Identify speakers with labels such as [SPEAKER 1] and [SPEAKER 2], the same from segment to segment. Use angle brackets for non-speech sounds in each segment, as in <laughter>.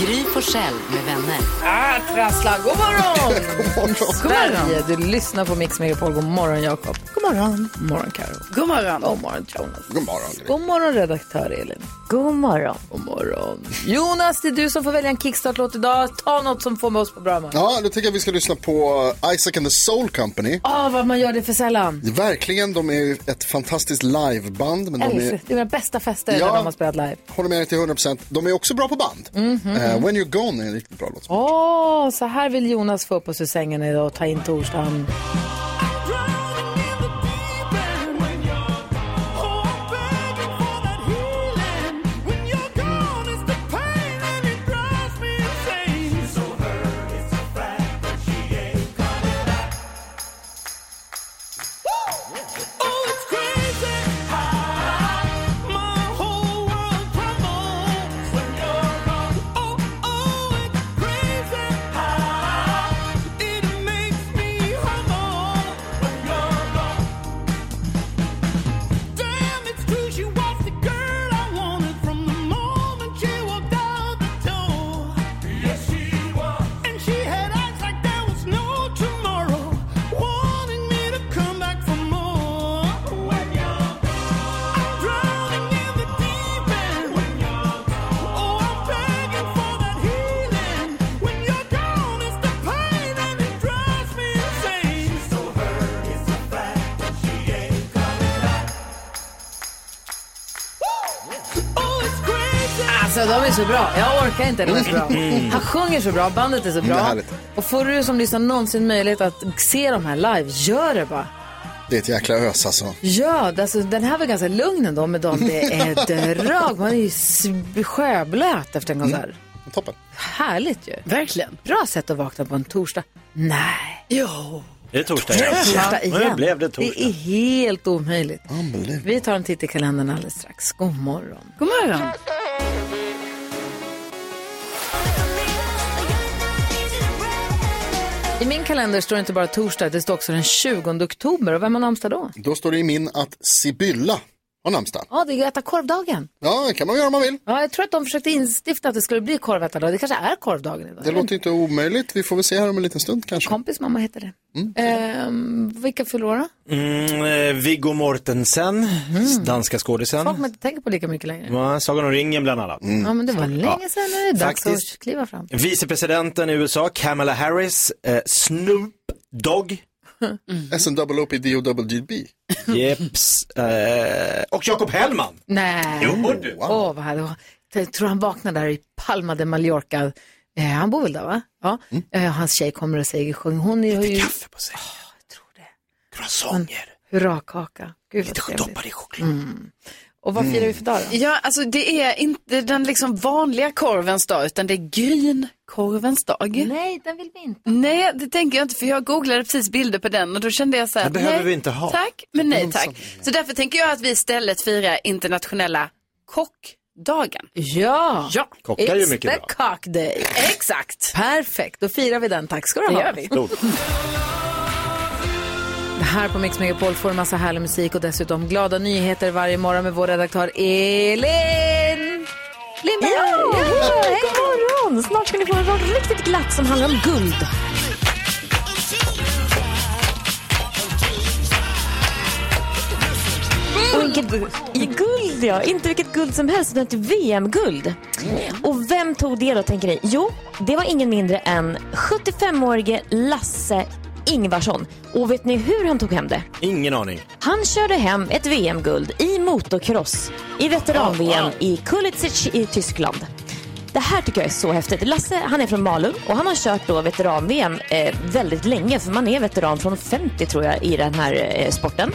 [SPEAKER 1] Gry Forssell med vänner.
[SPEAKER 2] Ah, trassla.
[SPEAKER 3] <laughs>
[SPEAKER 2] God morgon! Sverige, du lyssnar på Mix Megapol. God morgon, Jakob. God morgon. God morgon, Karo. God morgon. God morgon, Jonas. God morgon. God morgon, redaktör Elin.
[SPEAKER 4] God morgon.
[SPEAKER 2] God morgon. Jonas, det är du som får välja en kickstart-låt idag. Ta något som får med oss på bra humör.
[SPEAKER 5] Ja, nu tycker jag vi ska lyssna på Isaac and the Soul Company.
[SPEAKER 2] Åh, vad man gör det för sällan.
[SPEAKER 5] Verkligen, de är ju ett fantastiskt liveband. Men de
[SPEAKER 2] Älskar.
[SPEAKER 5] är,
[SPEAKER 2] Det är mina bästa fester
[SPEAKER 5] Ja.
[SPEAKER 2] när de har spelat live. Mhm.
[SPEAKER 5] håller med dig till 100%. De är också bra på band. Eh, When You're Gone är en riktigt bra låt.
[SPEAKER 2] Mm-hmm. Åh, så här vill Jonas få upp oss ur sängen idag och ta in torsdagen.
[SPEAKER 6] Oh, Oh, Oh,
[SPEAKER 2] Alltså de är så bra. Jag orkar inte, de är så bra. Han sjunger så bra, bandet är så
[SPEAKER 5] det är
[SPEAKER 2] bra.
[SPEAKER 5] härligt.
[SPEAKER 2] Och får du som lyssnar någonsin möjlighet att se de här live, gör det bara.
[SPEAKER 5] Det är ett jäkla ös alltså.
[SPEAKER 2] Ja, alltså, den här var ganska lugn ändå, men de, det är drag. Man är ju s- sjöblöt efter en konsert.
[SPEAKER 5] Toppen.
[SPEAKER 2] Härligt ju.
[SPEAKER 4] Verkligen.
[SPEAKER 2] Bra sätt att vakna på en torsdag. Nej,
[SPEAKER 4] Jo.
[SPEAKER 7] Det är torsdag igen.
[SPEAKER 2] torsdag igen.
[SPEAKER 7] Nu blev det torsdag.
[SPEAKER 2] Det är helt omöjligt. Vi tar en titt i kalendern alldeles strax. God morgon.
[SPEAKER 4] God morgon.
[SPEAKER 2] I min kalender står inte bara torsdag, det står också den 20 oktober. Och vem har namnsdag då?
[SPEAKER 5] Då står det i min att Sibylla har namnsdag.
[SPEAKER 2] Ja, det är Greta Korvdagen.
[SPEAKER 5] Ja, det kan man göra om man vill.
[SPEAKER 2] Ja, jag tror att de försökte instifta att det skulle bli korvätardag. Det kanske är korvdagen idag.
[SPEAKER 5] Det låter inte omöjligt. Vi får väl se här om en liten stund kanske.
[SPEAKER 2] Kompis mamma heter det.
[SPEAKER 5] Mm.
[SPEAKER 2] Ehm, vilka förlorar?
[SPEAKER 7] Mm, eh, Viggo Mortensen,
[SPEAKER 2] Mm.
[SPEAKER 7] danska skådisen.
[SPEAKER 2] Folk man inte tänker på lika mycket längre.
[SPEAKER 7] Va, Sagan om ringen bland annat.
[SPEAKER 5] Mm.
[SPEAKER 2] Ja, men det var länge sedan. Nu är det dags
[SPEAKER 7] Faktiskt.
[SPEAKER 2] att kliva fram.
[SPEAKER 7] Vicepresidenten i USA, Kamala Harris, eh, Snoop Dogg,
[SPEAKER 2] Mm.
[SPEAKER 5] SNOOPDOWGB.
[SPEAKER 7] Jeps, eh, och Jakob Hellman.
[SPEAKER 2] Nej.
[SPEAKER 7] Jo, du.
[SPEAKER 2] Åh, vad härligt. Jag tror han vaknar där i Palma de Mallorca. Eh, han bor väl där, va? Ja. Eh, hans tjej kommer och säger, sjung. Hon är ju
[SPEAKER 7] Mm. Kaffe på sig, croissanter,
[SPEAKER 2] hurrakaka. Gud, vad trevligt. Mm.
[SPEAKER 7] doppad i choklad.
[SPEAKER 2] Och vad
[SPEAKER 7] Mm.
[SPEAKER 2] firar vi för dag då?
[SPEAKER 4] Ja, alltså det är inte den liksom vanliga korvens dag, utan det är grynkorvens dag. Nej.
[SPEAKER 2] Nej, den vill vi inte.
[SPEAKER 4] det tänker jag inte, för jag googlade precis bilder på den och då kände jag så här,
[SPEAKER 7] Det behöver
[SPEAKER 4] nej,
[SPEAKER 7] vi inte ha. Mm.
[SPEAKER 4] Tack, men nej tack. Så därför tänker jag att vi istället firar internationella kockdagen.
[SPEAKER 2] Ja.
[SPEAKER 4] Ja,
[SPEAKER 7] Kockar ju
[SPEAKER 2] It's
[SPEAKER 7] mycket
[SPEAKER 2] the
[SPEAKER 7] bra.
[SPEAKER 2] cock day.
[SPEAKER 4] exakt.
[SPEAKER 2] Perfekt, då firar vi den. Tack ska du ha.
[SPEAKER 4] Det gör vi.
[SPEAKER 7] Stort.
[SPEAKER 2] Här på Mix Megapol får du massa härlig musik och dessutom glada nyheter varje morgon med vår redaktör Elin Lindberg.
[SPEAKER 4] Ja,
[SPEAKER 2] Ja, hej.
[SPEAKER 4] god morgon! Snart ska ni få en rad riktigt glatt som handlar om guld.
[SPEAKER 8] Och vilket guld- i guld ja, inte vilket guld som helst utan ett VM-guld. Och vem tog det då tänker ni? Jo, det var ingen mindre än 75-årige Lasse Ingvarsson. Och vet ni hur han tog hem det?
[SPEAKER 7] Ingen aning.
[SPEAKER 8] Han körde hem ett VM-guld i motocross i veteran-VM i Kulitzsch i Tyskland. Det här tycker jag är så häftigt. Lasse han är från Malung och han har kört då veteran-VM eh, väldigt länge för man är veteran från 50 tror jag i den här eh, sporten.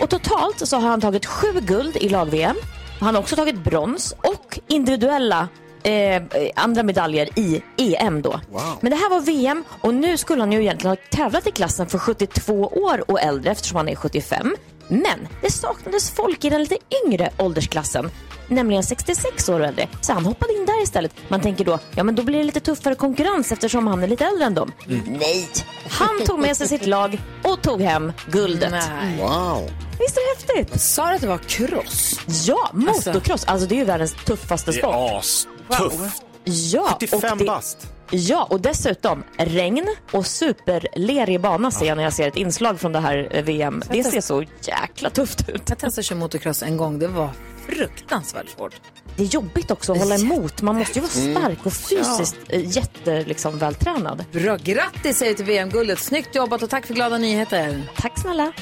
[SPEAKER 8] Och totalt så har han tagit sju guld i lag-VM. Han har också tagit brons och individuella eh, andra medaljer i EM då. Men det här var VM och nu skulle han ju egentligen ha tävlat i klassen för 72 år och äldre eftersom han är 75. Men det saknades folk i den lite yngre åldersklassen, nämligen 66 år och äldre. Så han hoppade in där istället. Man tänker då, ja men då blir det lite tuffare konkurrens eftersom han är lite äldre än dem.
[SPEAKER 2] Mm.
[SPEAKER 8] Nej! Han tog med sig sitt lag och tog hem guldet.
[SPEAKER 2] Nej.
[SPEAKER 5] Wow.
[SPEAKER 8] Visst är det häftigt?
[SPEAKER 2] Sa du att det var cross?
[SPEAKER 8] Ja, motocross. Alltså det är ju världens tuffaste
[SPEAKER 7] Det
[SPEAKER 8] sport.
[SPEAKER 7] är astufft.
[SPEAKER 8] Ja, och
[SPEAKER 7] 75
[SPEAKER 8] det-
[SPEAKER 7] bast.
[SPEAKER 8] Ja, och dessutom regn och superlerig bana ser jag när jag ser ett inslag från det här eh, VM. Det ser så jäkla tufft ut.
[SPEAKER 2] Jag testade att köra motocross en gång. Det var fruktansvärt svårt.
[SPEAKER 8] Det är jobbigt också att hålla emot. Man måste ju vara
[SPEAKER 2] Mm.
[SPEAKER 8] stark och fysiskt ja. jätte, liksom, vältränad.
[SPEAKER 2] Bra, grattis säger vi till VM-guldet. Snyggt jobbat och tack för glada nyheter.
[SPEAKER 8] Tack snälla.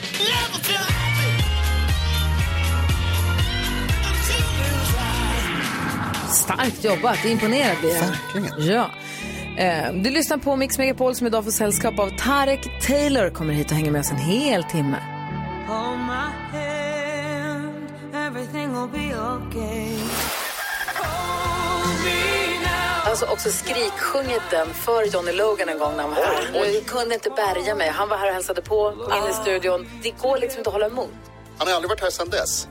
[SPEAKER 2] Starkt jobbat, imponerad blir jag.
[SPEAKER 5] Verkligen.
[SPEAKER 2] Ja. Eh, Du lyssnar på Mix Megapol som idag får sällskap av Tarek Taylor. Kommer hit och hänger med oss en hel timme. Alltså också skriksjungit den för Johnny Logan en gång när han var här. Jag kunde inte bärga mig. Han var här och hälsade på inne i studion. Det går liksom inte att hålla emot.
[SPEAKER 5] Han har aldrig varit här sedan dess.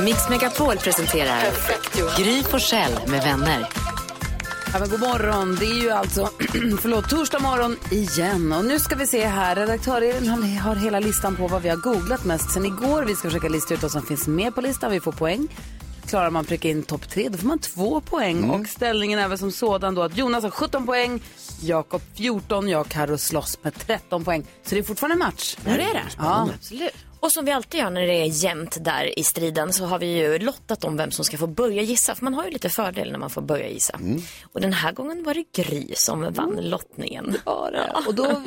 [SPEAKER 1] Mix Megapol presenterar Gry Forssell med vänner.
[SPEAKER 2] Ja, men god morgon. Det är ju alltså <clears throat> förlåt, torsdag morgon igen. Och nu ska vi se här. Redaktör Elin har- har hela listan på vad vi har googlat mest sen igår. Vi ska försöka lista ut vad som finns med på listan. Vi får poäng. Klarar man pricka in topp tre, då får man två poäng.
[SPEAKER 5] Mm.
[SPEAKER 2] Och ställningen är väl som sådan då att Jonas har 17 poäng, Jakob 14, jag Karo slåss med 13 poäng. Så det är fortfarande match.
[SPEAKER 8] Ja, det är det.
[SPEAKER 2] Ja.
[SPEAKER 8] Och som vi alltid gör när det är jämnt där i striden så har vi ju lottat om vem som ska få börja gissa. För man har ju lite fördel när man får börja gissa.
[SPEAKER 2] Mm.
[SPEAKER 8] Och den här gången var det Gry som vann lottningen. Ja.
[SPEAKER 2] Och då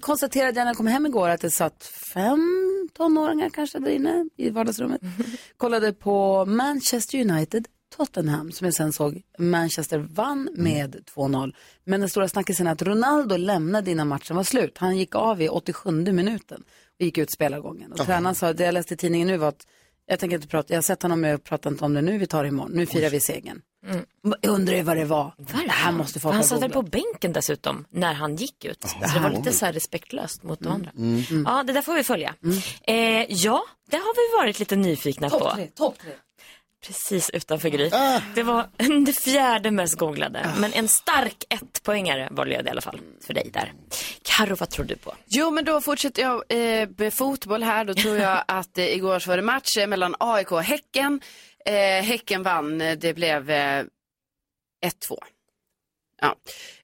[SPEAKER 2] konstaterade jag när jag kom hem igår att det satt fem tonåringar kanske där inne i vardagsrummet. Kollade på Manchester United, Tottenham, som jag sen såg Manchester vann
[SPEAKER 8] Mm.
[SPEAKER 2] med 2-0. Men den stora snackisen är att Ronaldo lämnade innan matchen var slut. Han gick av i 87 minuten och gick ut spelargången. Och tränaren sa, det jag läste i tidningen nu var att jag tänker inte prata, jag har sett honom men jag pratar inte om det nu, vi tar det imorgon. Nu firar vi segern.
[SPEAKER 8] Mm.
[SPEAKER 2] Jag undrar ju vad det var. Det här måste folk
[SPEAKER 8] han
[SPEAKER 2] ha
[SPEAKER 8] satt väl på
[SPEAKER 2] googlat.
[SPEAKER 8] bänken dessutom när han gick ut. Så det var lite så här respektlöst mot de andra.
[SPEAKER 2] Mm.
[SPEAKER 8] Ja, det där får vi följa. Eh, ja, det har vi varit lite nyfikna på.
[SPEAKER 2] Topp tre, topp tre.
[SPEAKER 8] Precis utanför Gry.
[SPEAKER 7] Ah.
[SPEAKER 8] Det var <laughs> det fjärde mest googlade. Men en stark ett-poängare var det i alla fall för dig där. Karo, vad tror du på?
[SPEAKER 4] Jo, men då fortsätter jag eh, med fotboll här. Då tror jag att eh, igår så var det match eh, mellan AIK och Häcken. Eh, häcken vann, eh, det blev eh, 1-2. Ja.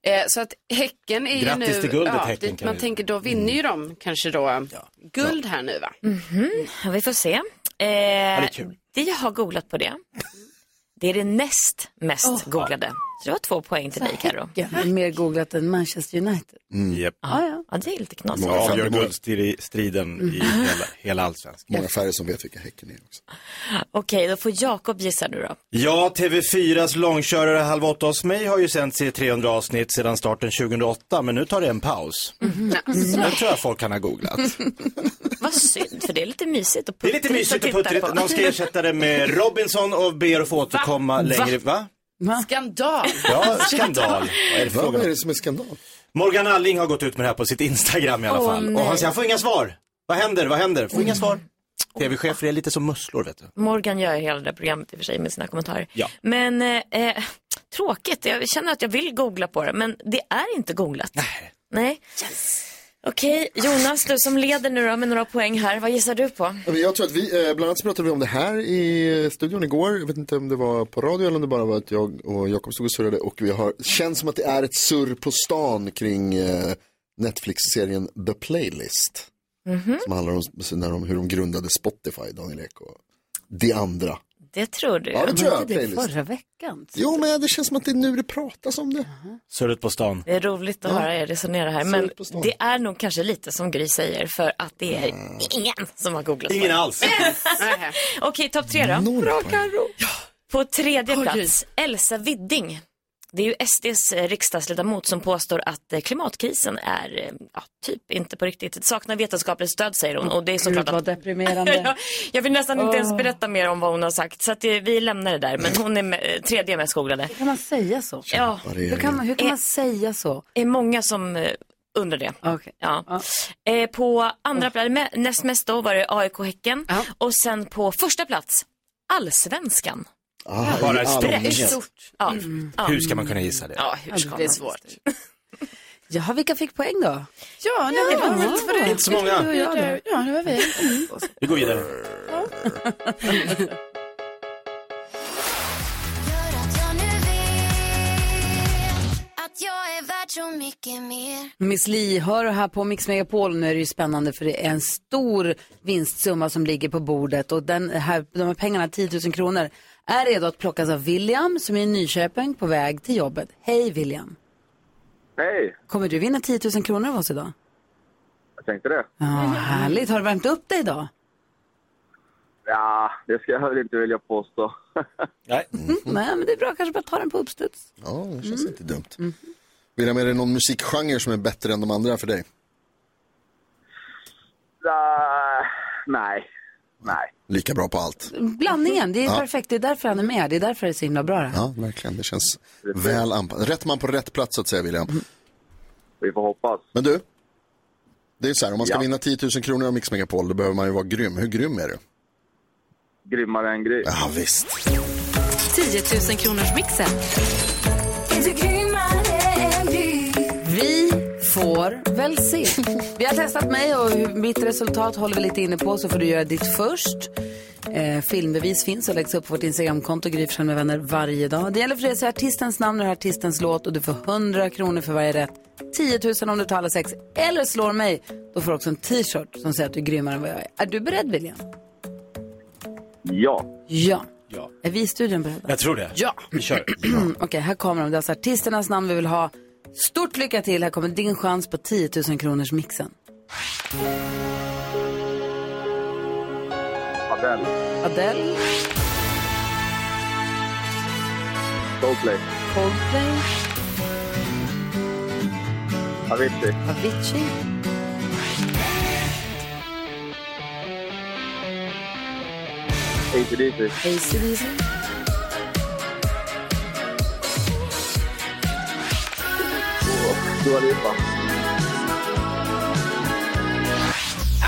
[SPEAKER 4] Eh, så att Häcken är ju nu...
[SPEAKER 7] Grattis till guldet,
[SPEAKER 4] ja,
[SPEAKER 7] Häcken,
[SPEAKER 4] det,
[SPEAKER 7] kan
[SPEAKER 4] Man
[SPEAKER 7] vi-
[SPEAKER 4] tänker, då vinner ju de kanske då guld här nu va?
[SPEAKER 8] Ja, vi får se. Eh,
[SPEAKER 7] det är kul.
[SPEAKER 8] Vi har googlat på det. Det är det näst mest googlade. Så det var två poäng till dig, Karo.
[SPEAKER 2] Ja, men mer googlat än Manchester United.
[SPEAKER 5] Mm.
[SPEAKER 7] Japp.
[SPEAKER 2] Ah, ja.
[SPEAKER 8] Ja, det är lite knasigt.
[SPEAKER 5] Ja.
[SPEAKER 7] Avgör guldstriden
[SPEAKER 2] Mm.
[SPEAKER 7] i hela, hela allsvenskan.
[SPEAKER 5] Många färre som vet vilka Häcken är också.
[SPEAKER 8] Okej, då får Jakob gissa nu då.
[SPEAKER 7] Ja, TV4s långkörare Halv åtta hos mig har ju sänts i 300 avsnitt sedan starten 2008, men nu tar det en paus.
[SPEAKER 4] Mm.
[SPEAKER 7] Så Nu tror jag folk kan ha googlat.
[SPEAKER 8] Mm. Vad synd, för det är lite mysigt att
[SPEAKER 7] Det är lite mysigt och
[SPEAKER 8] titta
[SPEAKER 7] puttrigt.
[SPEAKER 8] på.
[SPEAKER 7] De ska ersätta det med Robinson och ber att få återkomma längre. Va?
[SPEAKER 4] Skandal! <laughs>
[SPEAKER 7] Ja, skandal. Vad är det för
[SPEAKER 5] Vad
[SPEAKER 7] fråga?
[SPEAKER 5] är det som är skandal?
[SPEAKER 7] Morgan Alling har gått ut med det här på sitt Instagram i alla fall. och han säger, jag får inga svar. Vad händer? Vad händer? Får
[SPEAKER 8] Mm.
[SPEAKER 7] inga svar. TV-chefer är lite som musslor, vet du.
[SPEAKER 8] Morgan gör ju hela det här programmet i och för sig med sina kommentarer.
[SPEAKER 7] Ja.
[SPEAKER 8] Men eh, eh, tråkigt, jag känner att jag vill googla på det, men det är inte googlat. Nej. Nej. Okej, Jonas, du som leder nu då med några poäng här, vad gissar du på?
[SPEAKER 5] Ja, men Jag tror att vi, eh, bland annat så pratade vi om det här i eh, studion igår. Jag vet inte om det var på radio eller om det bara var att jag och Jakob stod och surrade. Och vi har, det känns som att det är ett surr på stan kring eh, Netflix-serien The Playlist.
[SPEAKER 4] Mhm.
[SPEAKER 5] Som handlar om, när de, hur de grundade Spotify, Daniel Ek och det andra.
[SPEAKER 8] Det tror du.
[SPEAKER 5] Ja, det tror jag.
[SPEAKER 2] Det är
[SPEAKER 5] Playlist.
[SPEAKER 2] förra veckan.
[SPEAKER 5] Jo, men det känns som att det är nu det pratas om det.
[SPEAKER 7] Surret på stan.
[SPEAKER 8] Det är roligt att höra er resonera här, men
[SPEAKER 5] ut på stan. Mm.
[SPEAKER 8] det är nog kanske lite som Gry säger, för att det är ingen som har googlat på
[SPEAKER 7] Ingen
[SPEAKER 8] det.
[SPEAKER 7] alls.
[SPEAKER 4] Nähä.
[SPEAKER 8] <laughs> Okej, topp tre då.
[SPEAKER 5] Noll poäng.
[SPEAKER 8] På tredje plats, Elsa Widding. Det är ju SDs eh, riksdagsledamot som påstår att eh, klimatkrisen är eh, ja, typ inte på riktigt, det saknar vetenskapligt stöd säger hon. Och det är såklart
[SPEAKER 2] Gud vad
[SPEAKER 8] att <laughs>
[SPEAKER 2] deprimerande.
[SPEAKER 8] jag vill nästan inte ens berätta mer om vad hon har sagt så att eh, vi lämnar det där. Men hon är med, eh, tredje mest googlade.
[SPEAKER 2] Kan man säga så?
[SPEAKER 8] Ja,
[SPEAKER 2] Hur kan man, hur kan man säga så?
[SPEAKER 8] det är många som eh, undrar det.
[SPEAKER 2] Okej.
[SPEAKER 8] Ja. Eh, på andra plats, mä- näst mest då var det AIK Häcken och sen på första plats Allsvenskan.
[SPEAKER 5] Ah,
[SPEAKER 7] Bara
[SPEAKER 5] i
[SPEAKER 7] stort.
[SPEAKER 5] allmänhet.
[SPEAKER 8] Ja.
[SPEAKER 2] Mm.
[SPEAKER 8] Ja.
[SPEAKER 7] Hur ska man kunna gissa det?
[SPEAKER 8] ja, hur ska
[SPEAKER 2] det är
[SPEAKER 8] man?
[SPEAKER 2] svårt. Jaha, vilka fick poäng då?
[SPEAKER 4] Ja, nej, det var allt för det.
[SPEAKER 7] Inte så många.
[SPEAKER 2] Du och jag då?
[SPEAKER 4] Ja, det var vi.
[SPEAKER 7] Vi går vidare.
[SPEAKER 2] Miss Li hör här på Mix Megapol. Nu är det ju spännande för det är en stor vinstsumma som ligger på bordet och den här, de här pengarna, 10 000 kronor, är redo att plockas av William som är i Nyköping på väg till jobbet. Hej William!
[SPEAKER 9] Hej,
[SPEAKER 2] Kommer du vinna 10 000 kronor av oss idag?
[SPEAKER 9] jag tänkte det.
[SPEAKER 2] Ja, härligt. Har du värmt upp dig idag?
[SPEAKER 9] Ja, det ska jag väl inte vilja påstå.
[SPEAKER 7] <laughs>
[SPEAKER 9] Mm.
[SPEAKER 7] Nej.
[SPEAKER 2] Nej, Mm, men det är bra. Kanske bara ta den på uppstuds.
[SPEAKER 5] Ja, det känns
[SPEAKER 2] Mm.
[SPEAKER 5] inte dumt. William, är det någon musikgenre som är bättre än de andra för dig?
[SPEAKER 9] Ah, nej, nej.
[SPEAKER 5] Lika bra på allt.
[SPEAKER 2] Blandningen, det är perfekt. Det är därför han är med. Det är därför det är så himla bra det här.
[SPEAKER 5] Ja, verkligen. Det känns väl anpassat. Rätt man på rätt plats så att säga, William.
[SPEAKER 9] Vi får hoppas.
[SPEAKER 5] Men du, det är så här, om man ska
[SPEAKER 9] Ja.
[SPEAKER 5] vinna 10 000 kronor av Mix Megapol, då behöver man ju vara grym. Hur grym är du?
[SPEAKER 9] Grymmare än gris.
[SPEAKER 5] Ja, visst.
[SPEAKER 1] 10 000 kronors mixen.
[SPEAKER 2] Vi får väl se. Vi har testat mig och hur- mitt resultat håller vi lite inne på så får du göra ditt först. Eh, filmbevis finns och läggs upp på vårt Instagramkonto Gry Forssell med vänner varje dag. Det gäller för dig att säga artistens namn och artistens låt och du får 100 kronor för varje rätt. 10 000 om du tar alla sex eller slår mig. Då får du också en t-shirt som säger att du är grymmare än vad jag är. Är du beredd William?
[SPEAKER 9] Ja.
[SPEAKER 2] Ja.
[SPEAKER 7] Ja.
[SPEAKER 2] Är vi i studion beredda?
[SPEAKER 7] Jag tror det. Ja. Vi kör.
[SPEAKER 2] Mm, <clears throat> Okej, här kommer de. Det är alltså artisternas namn vi vill ha. Stort lycka till. Här kommer din chans på 10 000 kronors mixen.
[SPEAKER 9] Adele,
[SPEAKER 2] Adele,
[SPEAKER 9] Coldplay,
[SPEAKER 2] Coldplay,
[SPEAKER 9] Avicii,
[SPEAKER 2] Avicii.
[SPEAKER 9] ACDC,
[SPEAKER 2] ACDC.
[SPEAKER 9] Dua Lipa.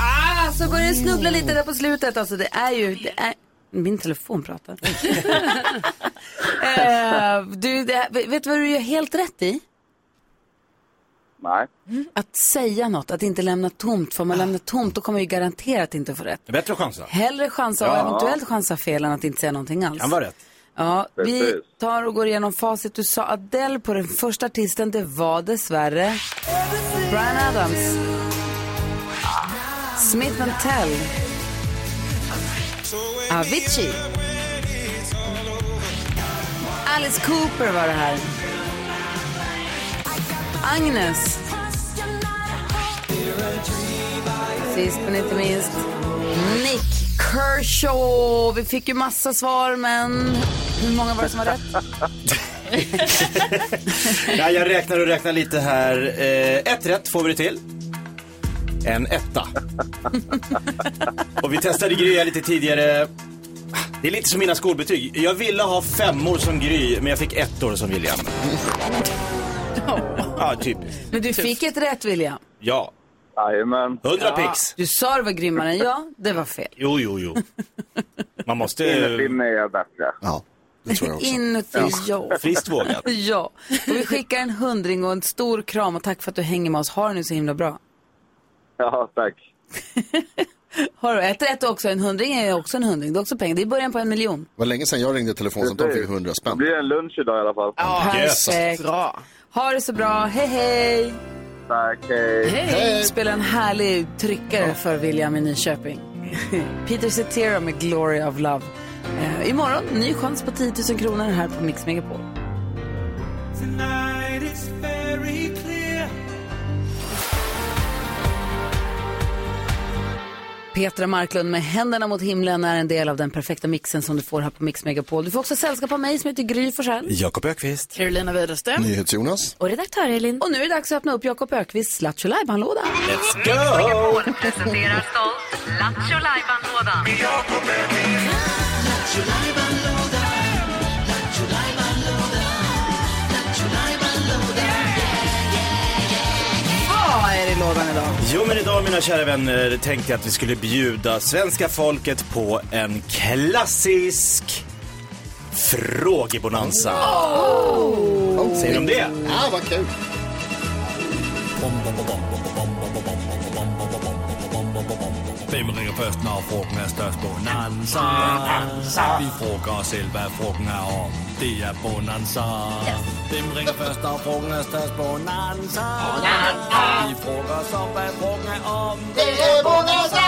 [SPEAKER 2] Ah, så börjar det snubbla lite där på slutet. Alltså det är ju... Det
[SPEAKER 9] <laughs>
[SPEAKER 2] är... Min telefon pratar. eh, du, det, vet du vad du gör <laughs> helt rätt i?
[SPEAKER 9] Nej.
[SPEAKER 2] Att säga något, att inte lämna tomt. För om man lämnar tomt då kommer man ju garanterat inte få rätt.
[SPEAKER 7] Bättre chanser.
[SPEAKER 2] Hellre chansa och eventuellt chansa fel än att inte säga någonting alls.
[SPEAKER 7] Kan vara rätt.
[SPEAKER 2] Ja, vi
[SPEAKER 9] Precis.
[SPEAKER 2] tar och går igenom facit. Du sa Adele på den första artisten. Det var dessvärre Bryan Adams. Smith Tell. Avicii. Alice Cooper var det här. Agnes. Sist men inte minst, Nick Kershaw. Vi fick ju massa svar, men hur många var det som var rätt?
[SPEAKER 7] Nej, jag räknar och räknar lite här. Eh, ett rätt får vi det till. En etta. och vi testade Gry här lite tidigare. Det är lite som mina skolbetyg. Jag ville ha femmor som Gry, men jag fick ettor som William. ja, typiskt.
[SPEAKER 2] Men du fick ett rätt, William.
[SPEAKER 7] Ja.
[SPEAKER 9] Jajamän.
[SPEAKER 7] 100 pix.
[SPEAKER 2] Du sa det var grymmare än jag, det var fel.
[SPEAKER 7] Jo, jo, jo. Man måste...
[SPEAKER 9] Innerst inne är jag bättre.
[SPEAKER 5] Ja, det tror jag också.
[SPEAKER 2] Inuti
[SPEAKER 7] <laughs>
[SPEAKER 2] jag.
[SPEAKER 7] Friskt vågat.
[SPEAKER 2] <laughs> Ja, och vi skickar en hundring och en stor kram och tack för att du hänger med oss. Har det nu så himla bra.
[SPEAKER 9] Ja, tack.
[SPEAKER 2] Har du ett rätt också, en hundring är också en hundring. Det är också pengar. Det är början på en miljon.
[SPEAKER 5] Det var länge sedan jag ringde ett telefonsamtal och fick 100
[SPEAKER 9] Det
[SPEAKER 5] spänn.
[SPEAKER 9] blir en lunch idag i alla fall.
[SPEAKER 2] Perfekt.
[SPEAKER 4] Bra.
[SPEAKER 2] Ha det så bra, hej hej!
[SPEAKER 9] Tack, hej.
[SPEAKER 2] Hej! Spela en härlig tryckare för William i Nyköping. <laughs> Peter Cetera med Glory of Love. Eh, imorgon, ny chans på 10 000 kronor här på Mix Megapol. Petra Marklund med Händerna mot himlen är en del av den perfekta mixen som du får här på Mix Megapol. Du får också sällskap av mig som heter Gry Forssell.
[SPEAKER 7] Jakob Ökvist.
[SPEAKER 4] Carolina Widerström.
[SPEAKER 5] NyhetsJonas.
[SPEAKER 10] Och redaktör Elin.
[SPEAKER 2] Och nu är det dags att öppna upp Jakob Ökvists Lattjo Lajban-låda.
[SPEAKER 7] Let's
[SPEAKER 11] Megapol presenterar stolt Lattjo Lajban-lådan.
[SPEAKER 2] Vad är det i lådan idag?
[SPEAKER 7] Jo men idag mina kära vänner tänkte jag att vi skulle bjuda svenska folket på en klassisk frågebonanza. Oh! Säger de det?
[SPEAKER 5] Ja, vad kul.
[SPEAKER 6] Vem ringer först när frugten är störst? Bonanza! Vi frågar oss själva vad frugten är om. Det är bonanza. Vem ringer först när frugten är störst? Bonanza! Vi frågar oss om vad frugten är om. Det är bonanza!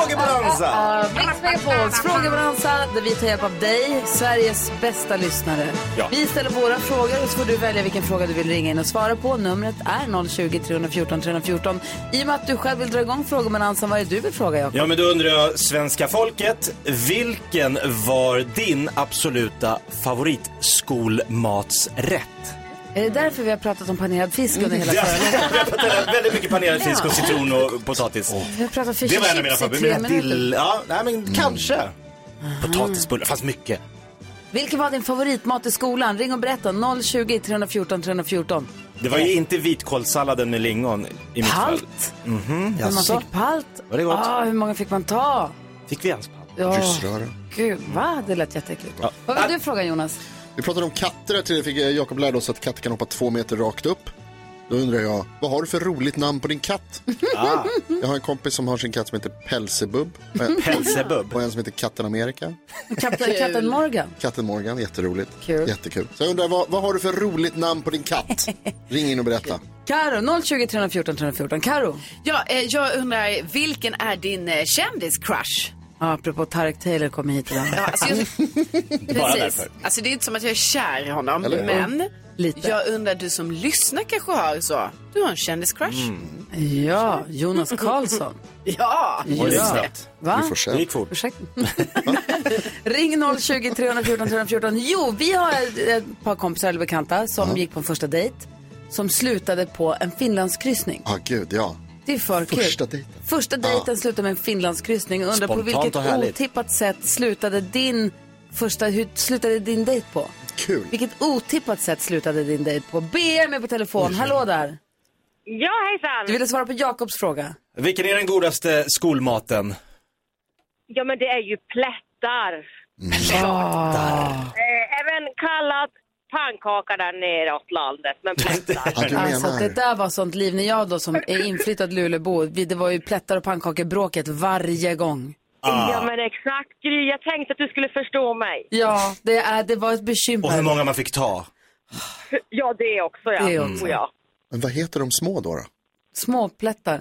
[SPEAKER 7] Frågebonanza!
[SPEAKER 2] Uh, Mix Megapols frågebonanza där vi tar hjälp av dig, Sveriges bästa lyssnare.
[SPEAKER 7] Ja.
[SPEAKER 2] Vi ställer våra frågor och så får du välja vilken fråga du vill ringa in och svara på. Numret är 020 314 314. I och med att du själv vill dra igång frågebonanzan, vad är det du vill fråga Jakob?
[SPEAKER 7] Ja men då undrar jag svenska folket, vilken var din absoluta favoritskolmatsrätt?
[SPEAKER 2] Är det därför vi har pratat om panerad fisk under hela
[SPEAKER 7] Ja,
[SPEAKER 2] förra
[SPEAKER 7] vi har pratat väldigt mycket panerad fisk och citron och potatis.
[SPEAKER 2] Vi har pratat fish
[SPEAKER 7] Det var en av
[SPEAKER 2] and
[SPEAKER 7] mina
[SPEAKER 2] chips i
[SPEAKER 7] favoriter.
[SPEAKER 2] tre
[SPEAKER 7] Men dill-
[SPEAKER 2] minuter.
[SPEAKER 7] Ja, nej men kanske. Mm. Potatisbullar, fanns mycket.
[SPEAKER 2] Vilken var din favoritmat i skolan? Ring och berätta. 020 314 314.
[SPEAKER 7] Det var ju inte vitkålssalladen med lingon i mitt fall.
[SPEAKER 2] Palt?
[SPEAKER 7] Mhm,
[SPEAKER 2] Hur man
[SPEAKER 7] jaså?
[SPEAKER 2] fick palt?
[SPEAKER 7] Var det gott?
[SPEAKER 2] Ah, hur många fick man ta?
[SPEAKER 7] Fick vi ens palt?
[SPEAKER 2] Ja. Gud, va? Det lät jätteäckligt.
[SPEAKER 5] Ja.
[SPEAKER 2] Vad vill du fråga Jonas?
[SPEAKER 5] Vi pratade om katter här tidigare. Fick- eh, Jakob lärde oss att katter kan hoppa två meter rakt upp. Då undrar jag, vad har du för roligt namn på din katt?
[SPEAKER 7] Ah.
[SPEAKER 5] Jag har en kompis som har sin katt som heter Pälsebubb.
[SPEAKER 7] Pälsebubb.
[SPEAKER 5] Och en som heter Katten Amerika.
[SPEAKER 2] Kapten, katten Morgan?
[SPEAKER 5] Katten Morgan, jätteroligt.
[SPEAKER 2] Kul.
[SPEAKER 5] Jättekul. Så jag undrar, vad, vad har du för roligt namn på din katt? Ring in och berätta.
[SPEAKER 2] Karo, 020 314 314. Karo.
[SPEAKER 4] Ja, eh, jag undrar, vilken är din eh, kändis-crush?
[SPEAKER 2] Ja, apropå Tarek Taylor kom hit idag. Mm.
[SPEAKER 4] Ja, alltså, jag,
[SPEAKER 2] Bara
[SPEAKER 4] precis.
[SPEAKER 2] därför.
[SPEAKER 4] Alltså, det är inte som att jag är kär i honom,
[SPEAKER 2] Eller hur?
[SPEAKER 4] men
[SPEAKER 2] Lite.
[SPEAKER 4] jag undrar, du som lyssnar kanske har så, du har en kändis-crush?
[SPEAKER 2] Mm. Ja, Jonas Karlsson.
[SPEAKER 4] <laughs> Ja,
[SPEAKER 2] Ja. Va?
[SPEAKER 4] Vi får se. Det gick
[SPEAKER 7] fort.
[SPEAKER 2] Ursäkta. Ring 020 314 314. Jo, vi har ett, ett par kompisar eller bekanta som gick på en första dejt som slutade på en Finlandskryssning.
[SPEAKER 5] Ja, ah, gud ja.
[SPEAKER 2] Det är för kul.
[SPEAKER 5] Första dejten.
[SPEAKER 2] Första dejten slutade med en Finlandskryssning. Jag Undrar på
[SPEAKER 5] Spontant
[SPEAKER 2] vilket
[SPEAKER 5] och härligt.
[SPEAKER 2] otippat sätt slutade din första, hur slutade din dejt på?
[SPEAKER 5] Kul.
[SPEAKER 2] Vilket otippat sätt slutade din dejt på? BM är på telefon. Hallå där.
[SPEAKER 11] Ja, hejsan.
[SPEAKER 2] Du ville svara på Jakobs fråga.
[SPEAKER 7] Vilken är den godaste skolmaten?
[SPEAKER 11] Ja, men det är ju plättar.
[SPEAKER 2] Ah.
[SPEAKER 7] Plättar.
[SPEAKER 11] Eh, även kallat pannkaka där nere åt landet, men plättar.
[SPEAKER 2] Alltså det där var sånt liv när jag då som är inflyttad Lulebo, vi- det var ju plättar och pannkakor bråket varje gång.
[SPEAKER 11] Ja, men exakt. Gry, jag tänkte att du skulle förstå mig.
[SPEAKER 2] Ja, det, är, det var ett bekymmer.
[SPEAKER 7] Och hur många man fick ta? Mm.
[SPEAKER 11] Ja, det också, ja. Mm.
[SPEAKER 5] Det också.
[SPEAKER 11] Och jag.
[SPEAKER 5] Men vad heter de små då? då?
[SPEAKER 2] Småplättar.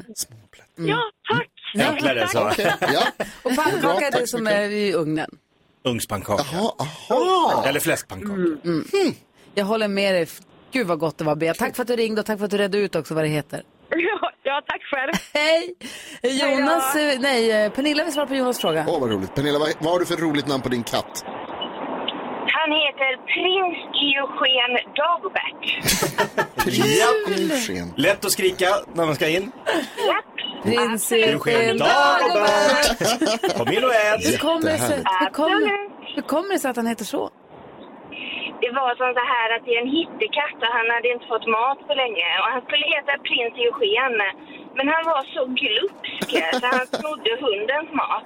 [SPEAKER 2] Mm.
[SPEAKER 11] Ja, tack.
[SPEAKER 5] Mm.
[SPEAKER 7] Enklare så.
[SPEAKER 5] Okej,
[SPEAKER 2] <laughs>
[SPEAKER 5] ja.
[SPEAKER 2] Och pannkaka är
[SPEAKER 5] Bra,
[SPEAKER 2] det
[SPEAKER 5] tack så
[SPEAKER 2] som
[SPEAKER 5] mycket.
[SPEAKER 2] är i ugnen.
[SPEAKER 7] Ugnspannkaka. Eller fläskpannkaka.
[SPEAKER 2] Mm. Jag håller med dig. Gud vad gott det var Bea. Tack för att du ringde och tack för att du redde ut också vad det heter.
[SPEAKER 11] Ja, tack själv.
[SPEAKER 2] Hej! Jonas, eh, nej, eh, Pernilla vill svara på Jonas fråga.
[SPEAKER 5] Åh, vad roligt. Pernilla, vad, vad har du för roligt namn på din katt?
[SPEAKER 11] Han heter prins Eugen Dagbert.
[SPEAKER 7] Ja. Lätt att skrika när man ska in.
[SPEAKER 5] Alltså,
[SPEAKER 2] Prins
[SPEAKER 7] Eugen
[SPEAKER 2] Eugen Dahlberg.
[SPEAKER 7] Kom in och ät.
[SPEAKER 2] Hur kommer det sig- hur
[SPEAKER 11] Absolut.
[SPEAKER 2] kommer- hur kommer det sig att han heter så?
[SPEAKER 11] Det var som så här att det är en hittekatt och han hade inte fått mat på länge. Och han skulle heta prins Eugen. Men han var så glupsk så han snodde hundens mat.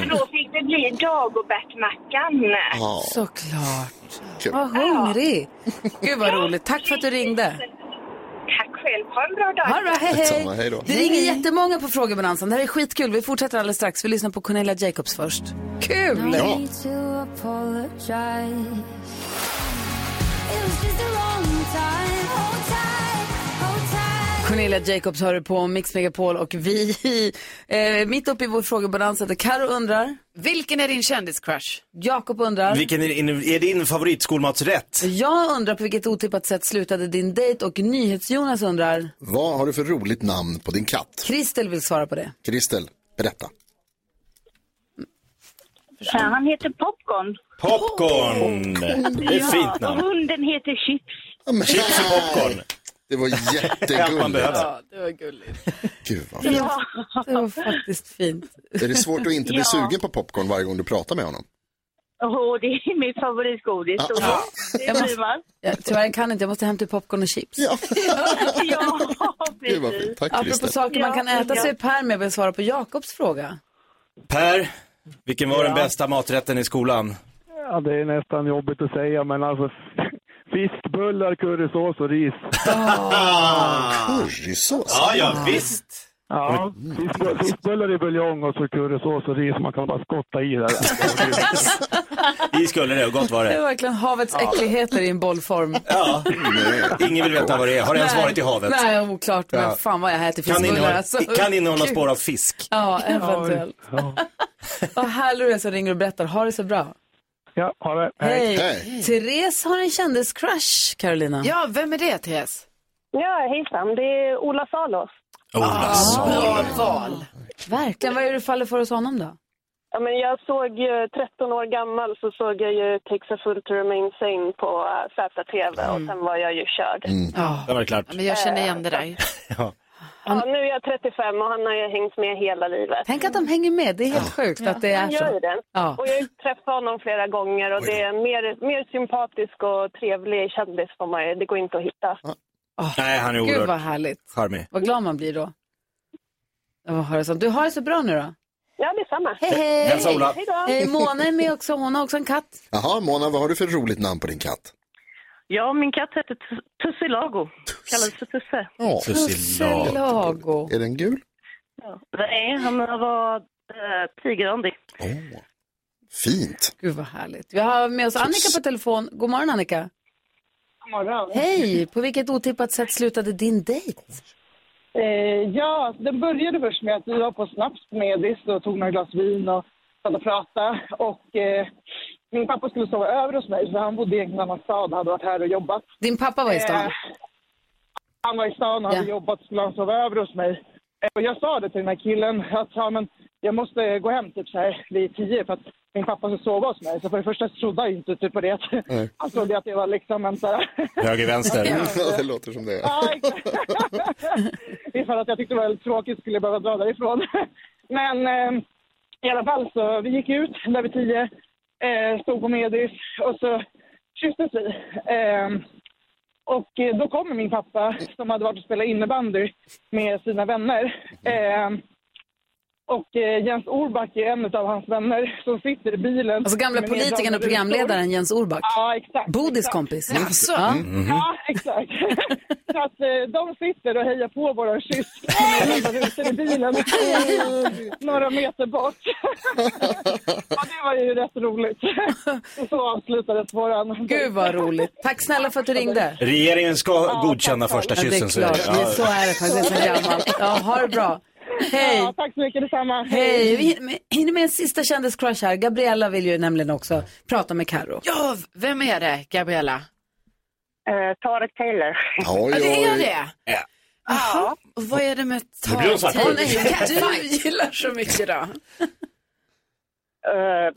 [SPEAKER 11] Så då fick det bli Dagobertmackan.
[SPEAKER 2] Såklart. Vad hungrig. Gud vad roligt. Tack för att du ringde.
[SPEAKER 11] Tack själv. Ha en bra dag.
[SPEAKER 2] Ha det bra. Hej, hej.
[SPEAKER 11] Detsamma. Hej då.
[SPEAKER 2] Det ringer jättemånga på frågebonansen. Det här är skitkul. Vi fortsätter alldeles strax. Vi lyssnar på Cornelia Jacobs först. Kul!
[SPEAKER 11] Ja.
[SPEAKER 2] Cornelia Jacobs hör du på Mix Megapol och vi, <laughs> eh, mitt uppe i vår frågebalans, heter Karo undrar.
[SPEAKER 4] Vilken är din kändiscrush?
[SPEAKER 2] Jakob undrar.
[SPEAKER 7] Vilken är, är din favoritskolmats rätt?
[SPEAKER 2] Jag undrar på vilket otippat sätt slutade din dejt och NyhetsJonas undrar.
[SPEAKER 5] Vad har du för roligt namn på din katt?
[SPEAKER 2] Kristel vill svara på det.
[SPEAKER 5] Kristel, berätta.
[SPEAKER 12] Ja, han heter Popcorn.
[SPEAKER 7] Popcorn! Det är ett fint
[SPEAKER 12] Ja, och
[SPEAKER 7] namn.
[SPEAKER 12] hunden heter Chips.
[SPEAKER 7] Chips och popcorn.
[SPEAKER 5] Det var
[SPEAKER 7] Allt man
[SPEAKER 5] jättegulligt.
[SPEAKER 7] behöver.
[SPEAKER 12] det var gulligt.
[SPEAKER 5] Gud vad fint.
[SPEAKER 12] Ja.
[SPEAKER 2] Det var faktiskt fint.
[SPEAKER 5] Är det svårt att inte bli
[SPEAKER 12] Ja.
[SPEAKER 5] sugen på popcorn varje gång du pratar med honom?
[SPEAKER 12] Åh, det är mitt favoritgodis.
[SPEAKER 5] Ja.
[SPEAKER 12] Och det- Det blir man.
[SPEAKER 2] Jag, tyvärr kan inte, jag måste hämta popcorn och chips.
[SPEAKER 5] Ja,
[SPEAKER 12] <laughs> ja
[SPEAKER 5] Gud vad fint. Tack
[SPEAKER 2] Apropå
[SPEAKER 5] Kristel.
[SPEAKER 2] <laughs> saker man kan
[SPEAKER 12] Ja,
[SPEAKER 2] äta
[SPEAKER 12] ja.
[SPEAKER 2] så är Per med och vill svara på Jakobs fråga.
[SPEAKER 7] Per, vilken var den bästa maträtten i skolan?
[SPEAKER 6] Ja, det är nästan jobbigt att säga, men alltså <laughs> fiskbullar, currysås och ris.
[SPEAKER 2] <laughs>
[SPEAKER 5] currysås?
[SPEAKER 7] Ja, ja, visst.
[SPEAKER 6] Ja, fiskbu- fiskbullar i buljong och så currysås och ris. Man kan bara skotta i där.
[SPEAKER 7] Vi skulle det och gott var
[SPEAKER 2] Det är
[SPEAKER 7] det.
[SPEAKER 2] verkligen havets äckligheter i en <laughs> bollform.
[SPEAKER 7] Ja. Ingen vill veta vad det är. Eh, Har det ens
[SPEAKER 2] Nej.
[SPEAKER 7] varit i havet?
[SPEAKER 2] Nej, oklart. Men
[SPEAKER 7] Ja.
[SPEAKER 2] fan vad jag
[SPEAKER 7] Kan
[SPEAKER 2] äter fiskbullar.
[SPEAKER 7] innehålla,
[SPEAKER 2] alltså.
[SPEAKER 7] kan innehålla
[SPEAKER 2] Gud.
[SPEAKER 7] spår av fisk.
[SPEAKER 2] <laughs> Ja, eventuellt. och här lurar jag så ringer och berättar. Ha det så bra.
[SPEAKER 6] Ja, ha det.
[SPEAKER 2] Hej. Hej. Therese har en kändiscrush, Carolina.
[SPEAKER 4] Ja, vem är det, Therese?
[SPEAKER 13] Ja, hejsan. Det är Ola Salos.
[SPEAKER 4] Bra val.
[SPEAKER 2] Verkligen. Vad är det du faller för hos honom då?
[SPEAKER 13] Ja, men jag såg ju, 13 år gammal så såg jag ju Takes a Fool to Remain Sane på eh, ZTV och sen var jag ju körd.
[SPEAKER 5] Mm.
[SPEAKER 13] Äh,
[SPEAKER 7] Det var det klart.
[SPEAKER 4] Men jag känner igen det där.
[SPEAKER 13] Ja, nu är jag 35 och han har ju hängt med hela livet.
[SPEAKER 2] Tänk att de hänger med. Det är helt sjukt att det är
[SPEAKER 13] han gör ju
[SPEAKER 2] så.
[SPEAKER 13] det.
[SPEAKER 2] Ja.
[SPEAKER 13] Och jag har ju träffat honom flera gånger och det är en mer, mer sympatisk och trevlig kändis får man ju. Det går inte att hitta.
[SPEAKER 7] Nej, han är
[SPEAKER 2] Gud,
[SPEAKER 7] oerhört
[SPEAKER 2] vad härligt.
[SPEAKER 7] charmig.
[SPEAKER 2] Vad glad man blir då. Ja, vad har det sånt. Du har det så bra nu då.
[SPEAKER 13] Ja, detsamma.
[SPEAKER 2] Hej, hej.
[SPEAKER 5] Hälsa Ola.
[SPEAKER 2] Hej, hej Mona är med också. Hon har också en katt.
[SPEAKER 5] Jaha, Mona, vad har du för roligt namn på din katt?
[SPEAKER 13] Ja, min katt heter Tus- Tussilago. Kallas för Tusse.
[SPEAKER 2] Tussilago.
[SPEAKER 5] Är den gul?
[SPEAKER 13] Nej, han var äh, tigerandig.
[SPEAKER 5] Fint.
[SPEAKER 2] Gud vad härligt. Vi har med oss Annika på telefon. God morgon Annika.
[SPEAKER 13] God morgon.
[SPEAKER 2] Hej. På vilket otippat sätt slutade din dejt?
[SPEAKER 14] Eh, ja, den började först med att vi var på snaps på Medis och tog några glas vin och satt och pratade. Och, eh, min pappa skulle sova över hos mig för han bodde i en annan stad hade varit här och jobbat.
[SPEAKER 2] Din pappa var i stan?
[SPEAKER 14] Eh, han var i stan och hade
[SPEAKER 2] Ja.
[SPEAKER 14] jobbat så skulle han sova över hos mig. Eh, och jag sa det till den här killen att ja, men jag måste gå hem typ så här vid tio för att min pappa ska sova hos mig. Så för det första så trodde jag inte typ på det.
[SPEAKER 5] Nej.
[SPEAKER 14] Han trodde att det var liksom en så här
[SPEAKER 7] Höger,
[SPEAKER 14] <laughs>
[SPEAKER 7] vänster.
[SPEAKER 5] <laughs> Ja, det låter som det.
[SPEAKER 14] Ja, exakt. <laughs> Ifall att jag tyckte det var väldigt tråkigt skulle jag behöva dra därifrån. <laughs> Men eh, i alla fall så vi gick ut där vid tio, eh, stod på Medis och så kysstes vi. Eh, och eh, då kommer min pappa som hade varit och spelat innebandy med sina vänner. Eh, och eh, Jens Orback är en av hans vänner som sitter i bilen.
[SPEAKER 2] Alltså gamla
[SPEAKER 14] med
[SPEAKER 2] politikern och
[SPEAKER 14] neddragna
[SPEAKER 2] programledaren Jens Orback.
[SPEAKER 14] Ja, exakt.
[SPEAKER 2] Bodis
[SPEAKER 14] exakt.
[SPEAKER 2] kompis.
[SPEAKER 14] Ja,
[SPEAKER 2] Ja.
[SPEAKER 14] ja exakt.
[SPEAKER 13] <laughs>
[SPEAKER 14] Så att eh, de sitter och hejar på våran kyss. när vi sitter i
[SPEAKER 4] <laughs>
[SPEAKER 14] bilen eh, några meter
[SPEAKER 13] <laughs>
[SPEAKER 14] bort. ja, det var ju rätt roligt. Och så avslutades våran...
[SPEAKER 2] Gud vad roligt. Tack snälla för att du ringde.
[SPEAKER 7] Regeringen ska godkänna första
[SPEAKER 2] Ja, det är
[SPEAKER 7] kyssen.
[SPEAKER 2] klart.
[SPEAKER 7] det. Ja.
[SPEAKER 2] Så är det faktiskt så gammalt. Ja, ha det bra. Hej.
[SPEAKER 14] Ja, tack så mycket, detsamma.
[SPEAKER 2] Hej. Vi hinner med- hinner med en sista kändiscrush här. Gabriella vill ju nämligen också prata med Karo.
[SPEAKER 4] Ja, vem är det, Gabriella?
[SPEAKER 14] Eh,
[SPEAKER 13] Tarek Taylor.
[SPEAKER 4] Ja, det är det.
[SPEAKER 7] Ja.
[SPEAKER 4] Ja. Och vad är det med
[SPEAKER 7] Nu blir hon
[SPEAKER 4] tal?
[SPEAKER 7] svartsjuk.
[SPEAKER 4] Du gillar så mycket då.
[SPEAKER 13] Eh,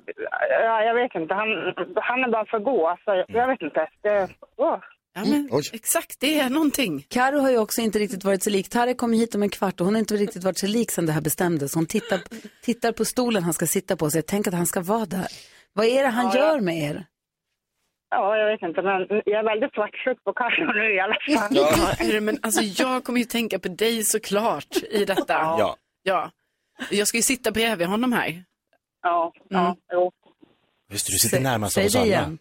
[SPEAKER 13] ja, jag vet inte. Han, han är bara för god. Alltså, jag vet inte. Det, åh.
[SPEAKER 4] Ja, men, exakt, det är någonting.
[SPEAKER 2] Karo har ju också inte riktigt varit så lik. Tarek kommer hit om en kvart och hon har inte riktigt varit så lik sedan det här bestämdes. Hon tittar, tittar på stolen han ska sitta på och säger, tänk att han ska vara där. Vad är det han
[SPEAKER 13] Ja, ja.
[SPEAKER 2] gör med er?
[SPEAKER 13] Ja, jag vet inte. Men jag är väldigt svartsjuk på Carro nu i alla
[SPEAKER 4] <laughs>
[SPEAKER 13] fall.
[SPEAKER 4] Ja, hörru, men alltså jag kommer ju tänka på dig såklart i detta.
[SPEAKER 7] Ja.
[SPEAKER 4] ja. Jag ska ju sitta bredvid honom här. Mm.
[SPEAKER 13] Ja,
[SPEAKER 4] ja,
[SPEAKER 13] jo.
[SPEAKER 7] Just det, du sitter närmast
[SPEAKER 2] Säg
[SPEAKER 7] oss
[SPEAKER 2] det
[SPEAKER 7] alla.
[SPEAKER 2] igen.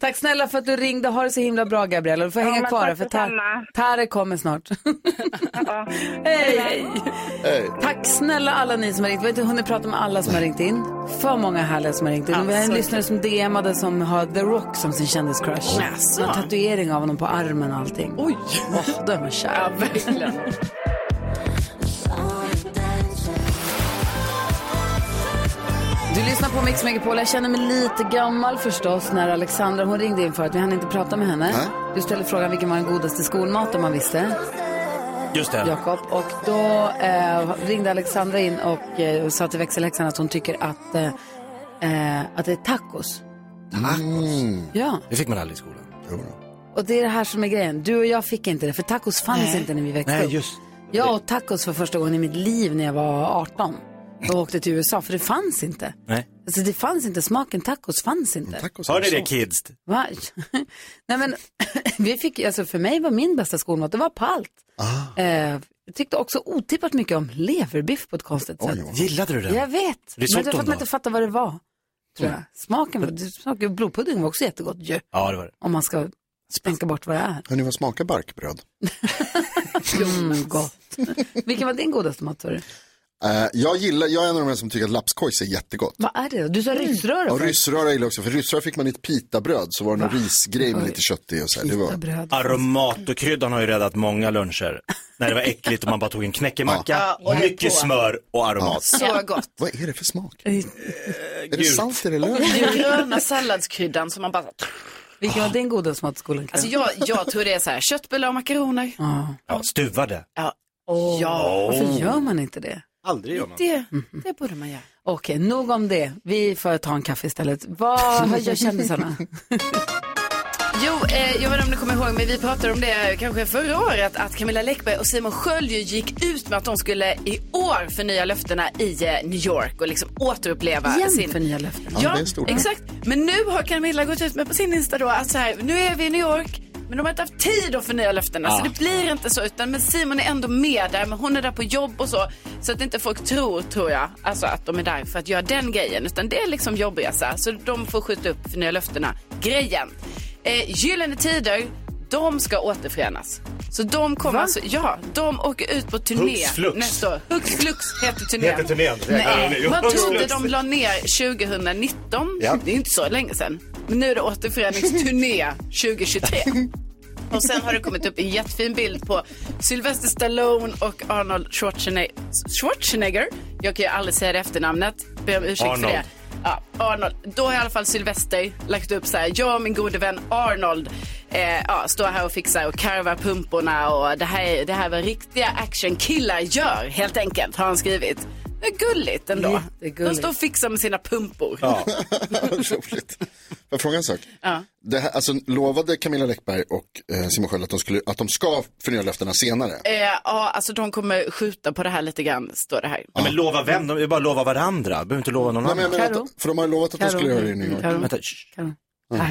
[SPEAKER 2] Tack snälla för att du ringde. Ha det så himla bra, Gabriella. Du får
[SPEAKER 12] Ja,
[SPEAKER 2] hänga
[SPEAKER 12] men
[SPEAKER 2] kvar här,
[SPEAKER 12] tack
[SPEAKER 2] för Per,
[SPEAKER 12] detsamma.
[SPEAKER 2] per kommer snart. <laughs> hej, hej. Tack snälla alla ni som har ringt. Vi har inte hunnit prata med alla som har ringt in. För många härliga som har ringt in. Och vi har en
[SPEAKER 15] Alltså.
[SPEAKER 2] lyssnare som DMade som har The Rock som sin kändiscrush.
[SPEAKER 15] Jaså.
[SPEAKER 2] Med tatuering av honom på armen och allting. Oj! Åh, då är man kär. Ja, verkligen. Du lyssnar på Mix Megapol. Jag känner mig lite gammal förstås när Alexandra hon ringde in för att vi hann inte prata med henne. Du ställde frågan vilken var den godaste skolmat om man visste.
[SPEAKER 7] Just det.
[SPEAKER 2] Jakob. Och då eh, ringde Alexandra in och eh, sa till växelhäxan att hon tycker att, eh, eh, att det är tacos.
[SPEAKER 7] Mm.
[SPEAKER 2] Ja.
[SPEAKER 7] Det fick man aldrig i skolan.
[SPEAKER 2] Och det är det här som är grejen. Du och jag fick inte det, för tacos fanns inte när vi växte
[SPEAKER 7] Nej,
[SPEAKER 2] upp.
[SPEAKER 7] just
[SPEAKER 2] Jag åt tacos för första gången i mitt liv när jag var 18 och åkte till USA, för det fanns inte.
[SPEAKER 7] Nej.
[SPEAKER 2] Alltså det fanns inte, smaken tacos fanns inte.
[SPEAKER 7] Hör ni det kids?
[SPEAKER 2] Va? <laughs> Nej men, <clears throat> vi fick, alltså för mig var min bästa skolmat, det var palt.
[SPEAKER 7] Ah.
[SPEAKER 2] Eh, jag tyckte också otippat mycket om leverbiff på ett konstigt sätt.
[SPEAKER 7] Gillade du den?
[SPEAKER 2] Jag vet, men det var för
[SPEAKER 7] Risotton
[SPEAKER 2] att man
[SPEAKER 7] då?
[SPEAKER 2] inte fattade vad det var. Tror jag.
[SPEAKER 7] Mm.
[SPEAKER 2] Smaken var, det- smaken- blodpudding var också jättegott ju.
[SPEAKER 7] Ja, det var det.
[SPEAKER 2] Om man ska tänka bort vad det är.
[SPEAKER 5] Hörni, vad smakar barkbröd?
[SPEAKER 2] Mm, gott. <laughs> Vilken var din godaste mat sa du?
[SPEAKER 5] Eh, jag gillar, jag är en av de här som tycker att lapskojs är jättegott.
[SPEAKER 2] Vad är det då? Du sa ryssröra
[SPEAKER 5] Och
[SPEAKER 2] förut.
[SPEAKER 5] ryssröra gillar jag också, för ryssröra fick man i ett pitabröd så var det någon risgrej med lite kött i och så här. Det var...
[SPEAKER 2] Bröd.
[SPEAKER 7] Aromatokryddan har ju räddat många luncher. När det var äckligt och man bara tog en knäckemacka,
[SPEAKER 5] Ja, och höll
[SPEAKER 7] mycket
[SPEAKER 5] på.
[SPEAKER 7] smör och aromat.
[SPEAKER 4] Så gott.
[SPEAKER 5] Vad är det för smak?
[SPEAKER 2] Eh,
[SPEAKER 7] Är det salt
[SPEAKER 5] eller
[SPEAKER 2] <laughs>
[SPEAKER 4] Och den gröna salladskryddan som man bara...
[SPEAKER 2] Vilken var din godaste mat i skolan?
[SPEAKER 4] Alltså jag, jag tror det är så här, köttbullar och makaroner.
[SPEAKER 7] Ja, stuvade.
[SPEAKER 4] Ja. ja.
[SPEAKER 2] Varför gör man inte det?
[SPEAKER 7] Aldrig gör man.
[SPEAKER 4] Det,
[SPEAKER 2] Mm.
[SPEAKER 4] det borde man göra.
[SPEAKER 2] Okej, nog om det. Vi får ta en kaffe istället. Vad gör kändisarna?
[SPEAKER 4] Jo, eh, jag vet inte om ni kommer ihåg, men vi pratade om det kanske förra året, att Camilla Läckberg och Simon Sköld ju gick ut med att de skulle i år förnya löftena i eh, New York och liksom återuppleva
[SPEAKER 2] Igen
[SPEAKER 4] sin...
[SPEAKER 2] förnya löften.
[SPEAKER 4] Ja, exakt. Men nu har Camilla gått ut med på sin Insta då att så här, nu är vi i New York, men de har inte haft tid att förnya löftena,
[SPEAKER 2] Ja.
[SPEAKER 4] så det blir inte så. Utan, men Simon är ändå med där, men hon är där på jobb och så. Så att inte folk tror, tror jag, alltså att de är där för att göra den grejen. Utan det är liksom jobbresa, så de får skjuta upp förnya löftena-grejen. Eh, Gyllene Tider, de ska återförenas. Så de kommer alltså, ja, de åker ut på turné
[SPEAKER 7] Hux flux.
[SPEAKER 4] nästa år. Hux flux heter turnén.
[SPEAKER 7] Heter turnén.
[SPEAKER 4] Nej,
[SPEAKER 7] Jo,
[SPEAKER 4] man
[SPEAKER 7] Hux
[SPEAKER 4] trodde
[SPEAKER 7] flux.
[SPEAKER 4] de la ner 2019.
[SPEAKER 7] Ja.
[SPEAKER 4] Det är inte så länge sedan. Men nu är
[SPEAKER 7] <laughs>
[SPEAKER 4] det återföreningsturné 2023. Och sen har det kommit upp en jättefin bild på Sylvester Stallone och Arnold Schwarzenegger. Schwarzenegger. Jag kan ju aldrig säga det efternamnet. Ber om ursäkt för det.
[SPEAKER 7] Arnold.
[SPEAKER 4] Ja, Arnold. Då har i alla fall Sylvester lagt upp så här. Jag och min gode vän Arnold eh, ja, står här och fixar och karvar pumporna och det här, är- det här är vad riktiga actionkillar gör helt enkelt, har han skrivit. Det är gulligt ändå. De
[SPEAKER 2] Jättegulligt.
[SPEAKER 4] står och fixar med sina pumpor.
[SPEAKER 5] <laughs> Roligt. Får jag fråga en sak?
[SPEAKER 4] Ja.
[SPEAKER 5] Det här, alltså, lovade Camilla Läckberg och eh, Simon Sköld att de, skulle, att de ska förnya löftena senare?
[SPEAKER 4] Eh, ja, alltså de kommer skjuta på det här lite grann, står det här.
[SPEAKER 7] Ja, men lova vem? De vill bara lova varandra. Behöver inte lova någon
[SPEAKER 5] Nej, men
[SPEAKER 7] annan.
[SPEAKER 5] jag menar att- Karo. för de har lovat att de Karo. skulle göra det i New York. Karo.
[SPEAKER 7] Vänta, shh.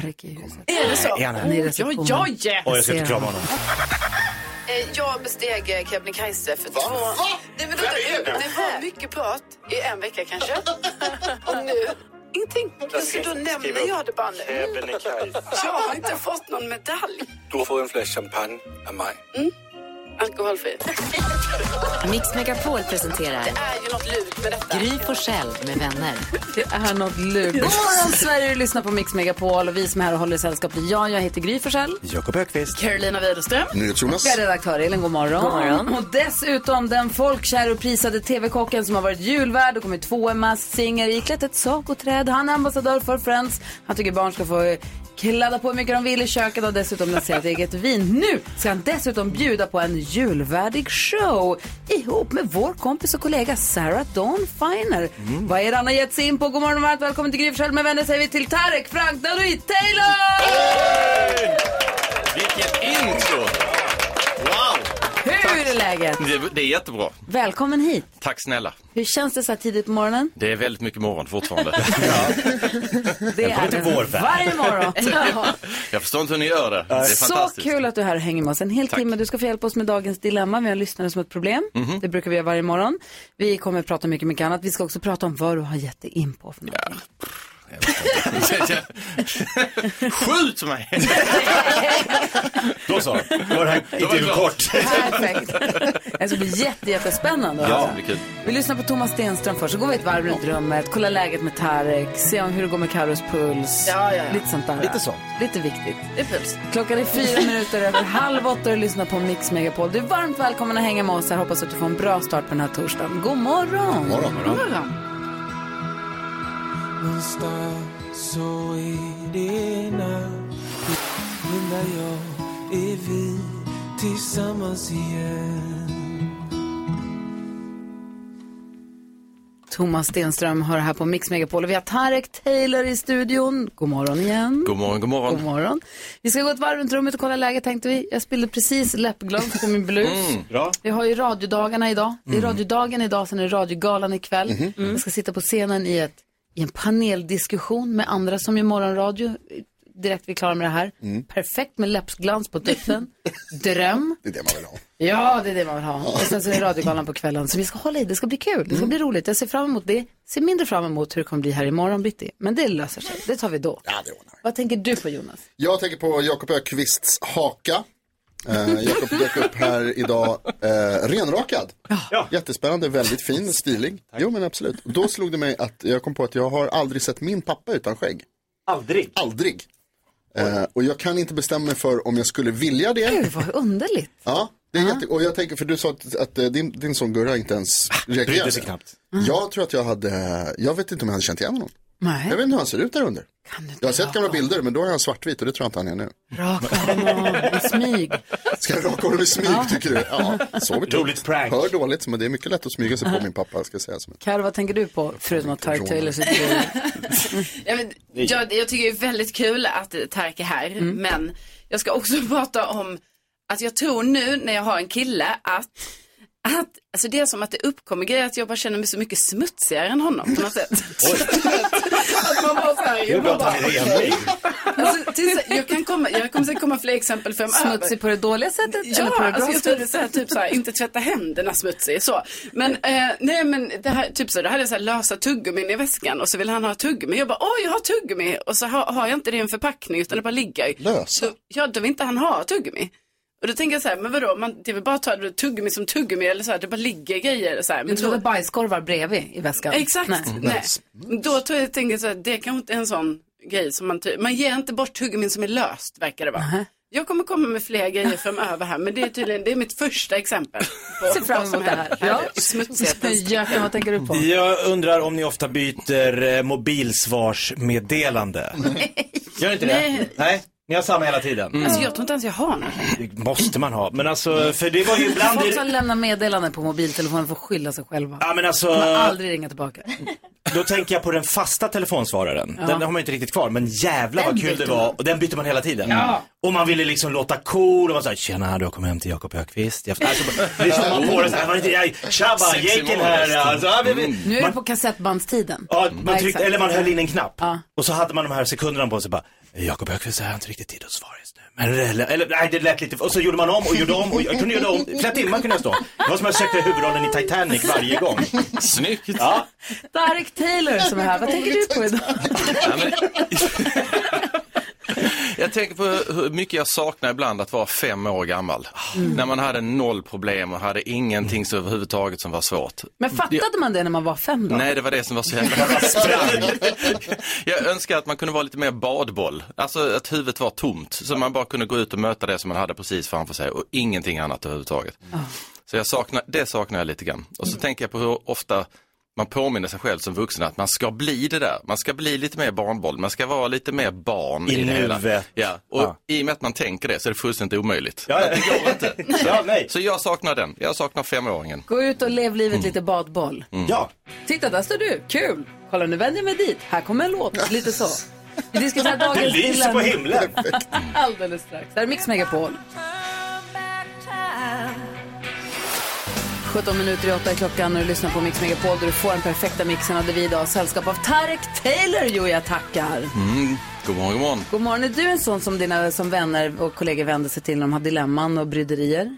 [SPEAKER 2] Erik är ju
[SPEAKER 4] Är det så?
[SPEAKER 7] Nej, Alltså, är han här?
[SPEAKER 2] Nej, det är
[SPEAKER 4] Ja,
[SPEAKER 2] receptionen.
[SPEAKER 4] ja, ja.
[SPEAKER 7] Oj, jag ska inte krama honom.
[SPEAKER 4] Eh, Jag besteg eh, Kebnekaise för två... Nej, men vänta,
[SPEAKER 16] Vem är
[SPEAKER 4] det
[SPEAKER 16] det?
[SPEAKER 4] var mycket prat i en vecka
[SPEAKER 17] <laughs>
[SPEAKER 4] kanske. Och nu ingenting. Så då nämner jag det bara nu. <laughs> Jag har inte fått någon medalj. Mm.
[SPEAKER 17] Du har fått en flaska champagne av mig.
[SPEAKER 4] Alkoholfri.
[SPEAKER 1] Mix Megapol presenterar
[SPEAKER 4] Det är ju något lurt med detta.
[SPEAKER 1] Gry Forssell med vänner.
[SPEAKER 2] <laughs> Det är något lurt. God morgon Sverige, du lyssnar på Mix Megapol och vi som är här och håller i sällskap det är jag, jag heter Gry Forssell.
[SPEAKER 7] Jakob Ökvist.
[SPEAKER 4] Carolina Widerström.
[SPEAKER 5] NyhetsJonas.
[SPEAKER 2] Vi har redaktör Elin, god morgon.
[SPEAKER 4] God morgon.
[SPEAKER 2] Och dessutom den folkkär och prisade TV-kocken som har varit julvärd och kommit tvåa med Masked Singer i klätt ett sakoträd. Han är ambassadör för Friends. Han tycker barn ska få eh, kladda på hur mycket de vill i köket och dessutom lansera ett eget vin. Nu ska han dessutom bjuda på en julvärdig show ihop med vår kompis och kollega Sarah Dawn Finer. Vad är det han har gett sig in på? God morgon och varmt välkommen till Gry Forssell med vänner säger vi till Tarek Frank David Taylor!
[SPEAKER 18] Vilket intro! Wow!
[SPEAKER 2] Hur är läget?
[SPEAKER 18] Det, det är jättebra.
[SPEAKER 2] Välkommen hit.
[SPEAKER 18] Tack snälla.
[SPEAKER 2] Hur känns det så här tidigt på morgonen?
[SPEAKER 18] Det är väldigt mycket morgon fortfarande.
[SPEAKER 7] <laughs>
[SPEAKER 2] Det är
[SPEAKER 18] till
[SPEAKER 2] det.
[SPEAKER 18] vår värld.
[SPEAKER 2] varje
[SPEAKER 7] <laughs>
[SPEAKER 2] morgon. Ja.
[SPEAKER 18] Jag förstår inte hur ni gör det. Det är
[SPEAKER 2] Så
[SPEAKER 18] fantastiskt.
[SPEAKER 2] kul att du är här och hänger med oss en hel timme. Du ska få hjälpa oss med dagens dilemma. Vi har en lyssnare som har ett problem.
[SPEAKER 18] Mhm.
[SPEAKER 2] Det brukar vi göra varje morgon. Vi kommer att prata mycket, mycket annat. Vi ska också prata om vad du har gett dig in på för någonting.
[SPEAKER 18] <laughs> Skjut mig!
[SPEAKER 7] Då så, var det här intervjun kort.
[SPEAKER 2] Perfekt. Det ska bli jätte, jättespännande.
[SPEAKER 18] Ja, det blir kul.
[SPEAKER 2] Vi lyssnar på Thomas Stenström först, så går vi ett varv runt rummet, kollar läget med Tarek, ser om hur det går med Carros puls.
[SPEAKER 4] Ja, ja, ja.
[SPEAKER 2] Lite sånt där.
[SPEAKER 4] Lite sånt.
[SPEAKER 2] Lite viktigt.
[SPEAKER 4] Det är puls.
[SPEAKER 2] Klockan är fyra minuter över halv åtta och du lyssnar på Mix Megapol. Du är varmt välkommen att hänga med oss här. Hoppas att du får en bra start på den här torsdagen. God morgon!
[SPEAKER 16] God morgon, morgon.
[SPEAKER 19] så är det natt Nu när jag är vi tillsammans igen
[SPEAKER 2] Thomas Stenström har det här på Mix Megapol och vi har Tarek Taylor i studion. God morgon igen.
[SPEAKER 18] God morgon, god morgon.
[SPEAKER 2] God morgon. Vi ska gå ett varv runt rummet och kolla läget tänkte vi. Jag spillde precis läppglans på min blus.
[SPEAKER 18] Mm, bra.
[SPEAKER 2] Vi har ju radiodagarna idag. Det är radiodagen idag, sen är det radiogalan ikväll.
[SPEAKER 18] Mhm. Mm.
[SPEAKER 2] Jag ska sitta på scenen i, ett, i en paneldiskussion med andra som gör morgonradio. Direkt vi är klara med det här.
[SPEAKER 5] Mm.
[SPEAKER 2] Perfekt med läppglans
[SPEAKER 7] <laughs>
[SPEAKER 2] på tuppen. Dröm.
[SPEAKER 5] Det är det man vill ha.
[SPEAKER 2] Ja, det är det man vill ha. Och sen så är det radiogalan på kvällen. Så vi ska hålla i, det ska bli kul, det
[SPEAKER 7] Mm.
[SPEAKER 2] ska bli roligt. Jag ser fram emot det. Ser mindre fram emot hur det kommer bli här imorgon bitti. Men det löser sig, det tar vi då.
[SPEAKER 5] Ja, det ordnar
[SPEAKER 2] Vad tänker du på Jonas?
[SPEAKER 5] Jag tänker på Jakob Ökvists haka. Eh, Jakob dök upp här idag eh, renrakad. Jättespännande, väldigt fin, stilig. Jo men absolut. Då slog det mig att jag kom på att jag har aldrig sett min pappa utan skägg.
[SPEAKER 7] Aldrig?
[SPEAKER 5] Aldrig. Eh, och jag kan inte bestämma mig för om jag skulle vilja det.
[SPEAKER 2] Gud vad underligt.
[SPEAKER 5] Ja, det är jätte... och jag tänker, för du sa att, att eh, din, din son Gurra inte ens reagerade.
[SPEAKER 7] Ah, brydde sig knappt.
[SPEAKER 5] Jag tror att jag hade, jag vet inte om jag hade känt igen honom.
[SPEAKER 2] Nej.
[SPEAKER 5] Jag vet inte hur han ser ut där under. Jag har sett gamla bilder, men då är han svartvit och det tror jag inte han är nu.
[SPEAKER 2] Raka honom i smyg.
[SPEAKER 5] Ska jag raka honom i smyg tycker du? Ja, sover tungt.
[SPEAKER 7] Roligt prank.
[SPEAKER 5] Hör dåligt, men det är mycket lätt att smyga sig på min pappa, ska jag säga. Som
[SPEAKER 2] Karo, vad tänker du på? Förutom att Tark Taylor sitter
[SPEAKER 4] Ja, men, jag, jag tycker det är väldigt kul att Tarek är här, men jag ska också <laughs> prata om att jag tror nu när jag har en kille att, att alltså det är som att det uppkommer grejer att jag bara känner mig så mycket smutsigare än honom på något sätt. att man bara så här,
[SPEAKER 7] Nu
[SPEAKER 4] jag, bara,
[SPEAKER 7] pratar vi renlig.
[SPEAKER 4] alltså, tills, jag, kan komma, jag kommer säkert komma fler exempel framöver.
[SPEAKER 2] smutsig på det dåliga sättet
[SPEAKER 4] Ja,
[SPEAKER 2] eller på det bra
[SPEAKER 4] alltså jag tror det är
[SPEAKER 2] sättet.
[SPEAKER 4] så här, typ så här, inte tvätta händerna smutsig så. Men eh, nej men det här, typ så, här, då hade jag så här lösa tuggummin i väskan och så vill han ha tuggummi. Jag bara, åh jag har tuggummi och så har, har jag inte det i en förpackning utan det bara ligger.
[SPEAKER 5] Lösa?
[SPEAKER 4] Så, ja, då vill inte han ha tuggummi. Och då tänker jag så här, men vadå, man, det är väl bara att ta tuggummi som tuggummi eller så här, det bara ligger grejer. eller Så här.
[SPEAKER 2] Du
[SPEAKER 4] Men
[SPEAKER 2] trodde
[SPEAKER 4] då,
[SPEAKER 2] bajskorvar bredvid i väskan?
[SPEAKER 4] Exakt. Mm.
[SPEAKER 2] Nej.
[SPEAKER 4] Nej. Då tror jag, tänker jag så här, det kanske inte är en sån grej som man, ty- man ger inte bort tuggummin som är löst, verkar det vara. Jag kommer komma med fler grejer framöver här, men det är tydligen, det är mitt första exempel. På
[SPEAKER 2] Se fram
[SPEAKER 4] vad som
[SPEAKER 2] emot det
[SPEAKER 4] händer.
[SPEAKER 2] här. Ja.
[SPEAKER 4] Smutsighetens-
[SPEAKER 2] Jöken, vad tänker du på?
[SPEAKER 7] Jag undrar om ni ofta byter eh, mobilsvarsmeddelande? Gör inte det?
[SPEAKER 4] Nej.
[SPEAKER 7] Nej, ni har samma hela tiden?
[SPEAKER 2] Mm.
[SPEAKER 4] Alltså jag tror inte ens jag har något.
[SPEAKER 7] Det måste man ha, men alltså, för det var ju ibland...
[SPEAKER 2] Folk som lämnar meddelanden på mobiltelefonen får skylla sig själva.
[SPEAKER 7] Ja, men alltså-
[SPEAKER 2] Man aldrig ringa tillbaka.
[SPEAKER 7] Då tänker jag på den fasta telefonsvararen.
[SPEAKER 2] Ja.
[SPEAKER 7] Den har man inte riktigt kvar, men jävla vad
[SPEAKER 2] Den
[SPEAKER 7] kul det
[SPEAKER 2] byter
[SPEAKER 7] var.
[SPEAKER 2] man.
[SPEAKER 7] Och den byter man hela tiden.
[SPEAKER 2] Ja.
[SPEAKER 7] Och man ville liksom låta cool och man sa tjena, du har kommit hem till Jakob Högqvist. Jag- Alltså,
[SPEAKER 2] <laughs>
[SPEAKER 7] lyssnar man på det så här, var det inte jag, tjabba,
[SPEAKER 2] Sexy
[SPEAKER 7] jejken
[SPEAKER 2] morgon,
[SPEAKER 7] här.
[SPEAKER 2] resten.
[SPEAKER 7] Alltså, ja, vi- vi-
[SPEAKER 2] Mm. Nu är det
[SPEAKER 7] man-
[SPEAKER 2] på kassettbandstiden.
[SPEAKER 7] Ja, man tryckte,
[SPEAKER 2] exakt.
[SPEAKER 7] eller man höll in en knapp. Och så hade man de här sekunderna på sig bara, Jakob Högqvist, jag har inte riktigt tid att svara just nu. Men, eller, eller, nej, det lät lite, och så gjorde man om och gjorde om och jag kunde göra om, flera timmar kunde jag stå. Det var som att jag sökte huvudrollen i Titanic varje gång.
[SPEAKER 18] Snyggt.
[SPEAKER 7] Ja.
[SPEAKER 2] Derek Taylor som är här, vad tänker du på idag?
[SPEAKER 18] Jag tänker på hur mycket jag saknar ibland att vara fem år gammal.
[SPEAKER 2] Mm.
[SPEAKER 18] När man hade noll problem och hade ingenting så överhuvudtaget som var svårt.
[SPEAKER 2] Men fattade man det när man var fem då?
[SPEAKER 18] Nej, det var det som var så
[SPEAKER 7] <laughs>
[SPEAKER 18] jävla sprang. <laughs> Jag önskar att man kunde vara lite mer badboll. Alltså att huvudet var tomt. Så man bara kunde gå ut och möta det som man hade precis framför sig och ingenting annat överhuvudtaget. Så jag saknar, det saknar jag lite grann. Och så
[SPEAKER 7] Mm.
[SPEAKER 18] tänker jag på hur ofta man påminner sig själv som vuxen att man ska bli det där. Man ska bli lite mer barnboll. Man ska vara lite mer barn
[SPEAKER 7] I
[SPEAKER 18] i, det hela.
[SPEAKER 7] nuet.
[SPEAKER 18] Ja. Och
[SPEAKER 7] Ja.
[SPEAKER 18] i och med att man tänker det så är det fullständigt omöjligt.
[SPEAKER 7] Ja, ja.
[SPEAKER 18] Det går inte.
[SPEAKER 7] <laughs> Ja, nej.
[SPEAKER 18] Så jag saknar den. Jag saknar femåringen.
[SPEAKER 2] Gå ut och lev livet lite badboll.
[SPEAKER 18] Mm.
[SPEAKER 2] Titta, där står du, kul! Kolla, nu vänder jag mig dit, här kommer en låt, lite så. Vi diskuterar dagens
[SPEAKER 7] Det lyser på himlen.
[SPEAKER 2] Alldeles strax. Det här är Mix Megapol. 17 minuter i åtta är klockan och du lyssnar på Mix Megapol där du får den perfekta mixen hade vi idag sällskap av Tarek Taylor. Jo, jag tackar.
[SPEAKER 18] Mm. God morgon, god morgon.
[SPEAKER 2] God morgon. Är du en sån som dina som vänner och kollegor vänder sig till när de har dilemman och bryderier?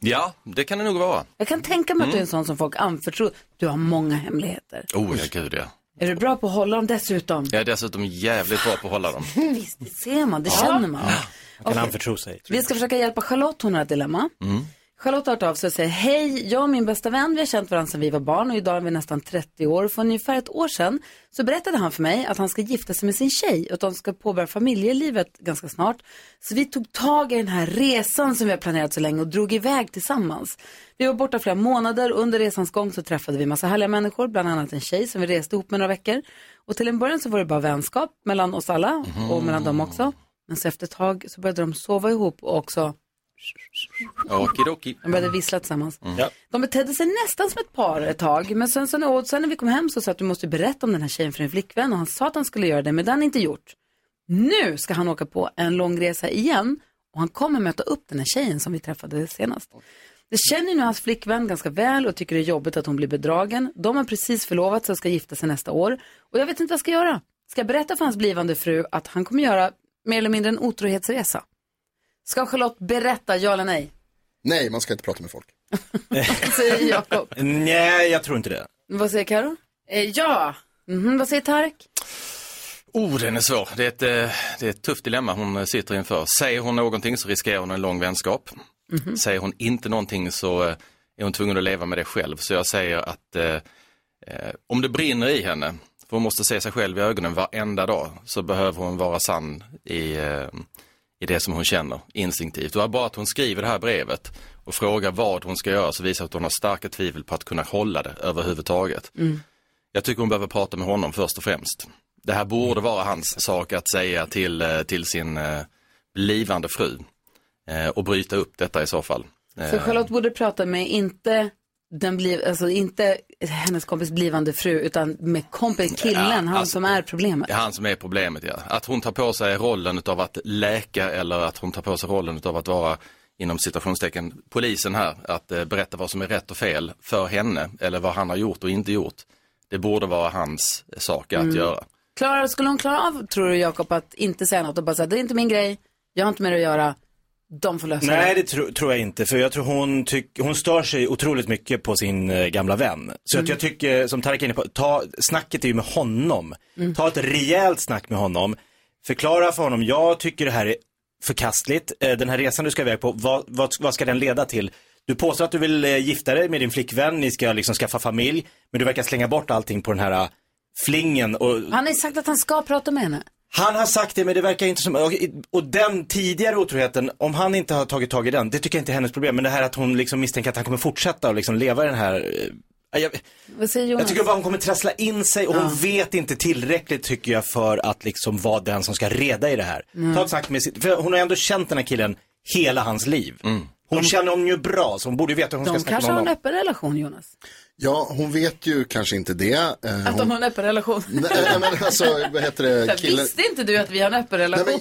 [SPEAKER 18] Ja, det kan det nog vara.
[SPEAKER 2] Jag kan tänka mig att du är
[SPEAKER 18] Mm.
[SPEAKER 2] en sån som folk anförtror. Du har många hemligheter.
[SPEAKER 18] Oh, ja, gud ja.
[SPEAKER 2] Är du bra på att hålla dem dessutom?
[SPEAKER 18] Jag är dessutom jävligt bra på att hålla dem.
[SPEAKER 2] Visst, det ser man, det känner man.
[SPEAKER 18] Man kan anförtro sig.
[SPEAKER 2] Vi ska försöka hjälpa Charlotte, hon har ett dilemma.
[SPEAKER 18] Mm.
[SPEAKER 2] Charlotte har hört av sig och säger, hej, jag och min bästa vän, vi har känt varandra sedan vi var barn och idag är vi nästan 30 år. För ungefär ett år sedan så berättade han för mig att han ska gifta sig med sin tjej och att de ska påbörja familjelivet ganska snart. Så vi tog tag i den här resan som vi har planerat så länge och drog iväg tillsammans. Vi var borta flera månader och under resans gång så träffade vi massa härliga människor, bland annat en tjej som vi reste ihop med några veckor. Och till en början så var det bara vänskap mellan oss alla och mellan dem också. Men så efter ett tag så började de sova ihop och också
[SPEAKER 18] Okidoki.
[SPEAKER 2] de började vissla tillsammans.
[SPEAKER 18] Mm. Ja.
[SPEAKER 2] De betedde sig nästan som ett par ett tag, men sen, sen, och sen när vi kom hem så sa jag att du måste berätta om den här tjejen för din flickvän och han sa att han skulle göra det, men det har han inte gjort. Nu ska han åka på en lång resa igen och han kommer möta upp den här tjejen som vi träffade senast. Det känner nu hans flickvän ganska väl och tycker det är jobbigt att hon blir bedragen. De har precis förlovat sig och ska gifta sig nästa år och jag vet inte vad jag ska göra. Ska jag berätta för hans blivande fru att han kommer göra mer eller mindre en otrohetsresa? Ska Charlotte berätta ja eller nej?
[SPEAKER 5] Nej, man ska inte prata med folk.
[SPEAKER 2] <laughs> Säger Jakob.
[SPEAKER 7] Nej, jag tror inte det.
[SPEAKER 2] Vad säger Karo?
[SPEAKER 7] Eh,
[SPEAKER 2] Mhm,
[SPEAKER 4] ja.
[SPEAKER 2] vad säger Tarek?
[SPEAKER 18] Oh, den är svår. Det är, ett, eh, det är ett tufft dilemma hon eh, sitter inför. Säger hon någonting så riskerar hon en lång vänskap.
[SPEAKER 16] Mhm.
[SPEAKER 18] Säger hon inte någonting så eh, är hon tvungen att leva med det själv. Så jag säger att eh, eh, om det brinner i henne, för hon måste se sig själv i ögonen varenda dag, så behöver hon vara sann i, eh, i det som hon känner instinktivt. Och bara att hon skriver det här brevet och frågar vad hon ska göra så visar att hon har starka tvivel på att kunna hålla det överhuvudtaget.
[SPEAKER 3] Mm.
[SPEAKER 18] Jag tycker hon behöver prata med honom först och främst. Det här borde vara hans sak att säga till, eh, till sin eh, blivande fru eh, och bryta upp detta i så fall. Eh,
[SPEAKER 2] Så Charlotte borde prata med inte, den bliv, alltså inte hennes kompis blivande fru utan med kompis killen,
[SPEAKER 18] Ja,
[SPEAKER 2] han
[SPEAKER 18] alltså-
[SPEAKER 2] som är problemet.
[SPEAKER 18] det är han som är problemet, ja. Att hon tar på sig rollen av att läka eller att hon tar på sig rollen av att vara inom citationstecken polisen här, att eh, berätta vad som är rätt och fel för henne eller vad han har gjort och inte gjort. Det borde vara hans eh, sak att
[SPEAKER 2] Mm.
[SPEAKER 18] göra.
[SPEAKER 2] Klara, skulle hon klara av, tror du Jakob, att inte säga något och bara säga det är inte min grej, jag har inte med det att göra, de får lösa
[SPEAKER 7] Nej,
[SPEAKER 2] det.
[SPEAKER 7] det tro, tror jag inte. För jag tror hon, tyck, hon stör sig otroligt mycket på sin eh, gamla vän. Så att
[SPEAKER 20] Mm.
[SPEAKER 7] jag tycker, som Tarek är inne på, ta, snacket är ju med honom.
[SPEAKER 2] Mm.
[SPEAKER 7] Ta ett rejält snack med honom. Förklara för honom, jag tycker det här är förkastligt. Eh, Den här resan du ska iväg på, vad, vad, vad ska den leda till? Du påstår att du vill eh, gifta dig med din flickvän, ni ska liksom skaffa familj, men du verkar slänga bort allting på den här eh, flingen och
[SPEAKER 2] Han har ju sagt att han ska prata med henne.
[SPEAKER 7] han har sagt det men det verkar inte som, och, och den tidigare otroheten, om han inte har tagit tag i den, det tycker jag inte är hennes problem. Men det här att hon liksom misstänker att han kommer fortsätta och liksom leva i den här, eh, jag,
[SPEAKER 2] Vad säger Jonas?
[SPEAKER 7] jag tycker bara hon kommer trassla in sig och hon vet inte tillräckligt tycker jag för att liksom vara den som ska reda i det här.
[SPEAKER 2] Mm.
[SPEAKER 7] Ta ett snack med sitt, för hon har ändå känt den här killen hela hans liv.
[SPEAKER 18] Mm.
[SPEAKER 7] Hon känner honom ju bra så hon borde ju veta hur hon ska
[SPEAKER 2] De
[SPEAKER 7] snacka med
[SPEAKER 2] kanske har
[SPEAKER 7] honom.
[SPEAKER 2] en öppen relation Jonas.
[SPEAKER 5] Ja, hon vet ju kanske inte det. Eh,
[SPEAKER 2] Att de har en öppen relation.
[SPEAKER 5] Nej, men alltså, vad heter
[SPEAKER 7] Eh,
[SPEAKER 2] <laughs> Så
[SPEAKER 5] det?
[SPEAKER 2] här,
[SPEAKER 5] Killen...
[SPEAKER 2] Visste inte du att vi har en öppen relation?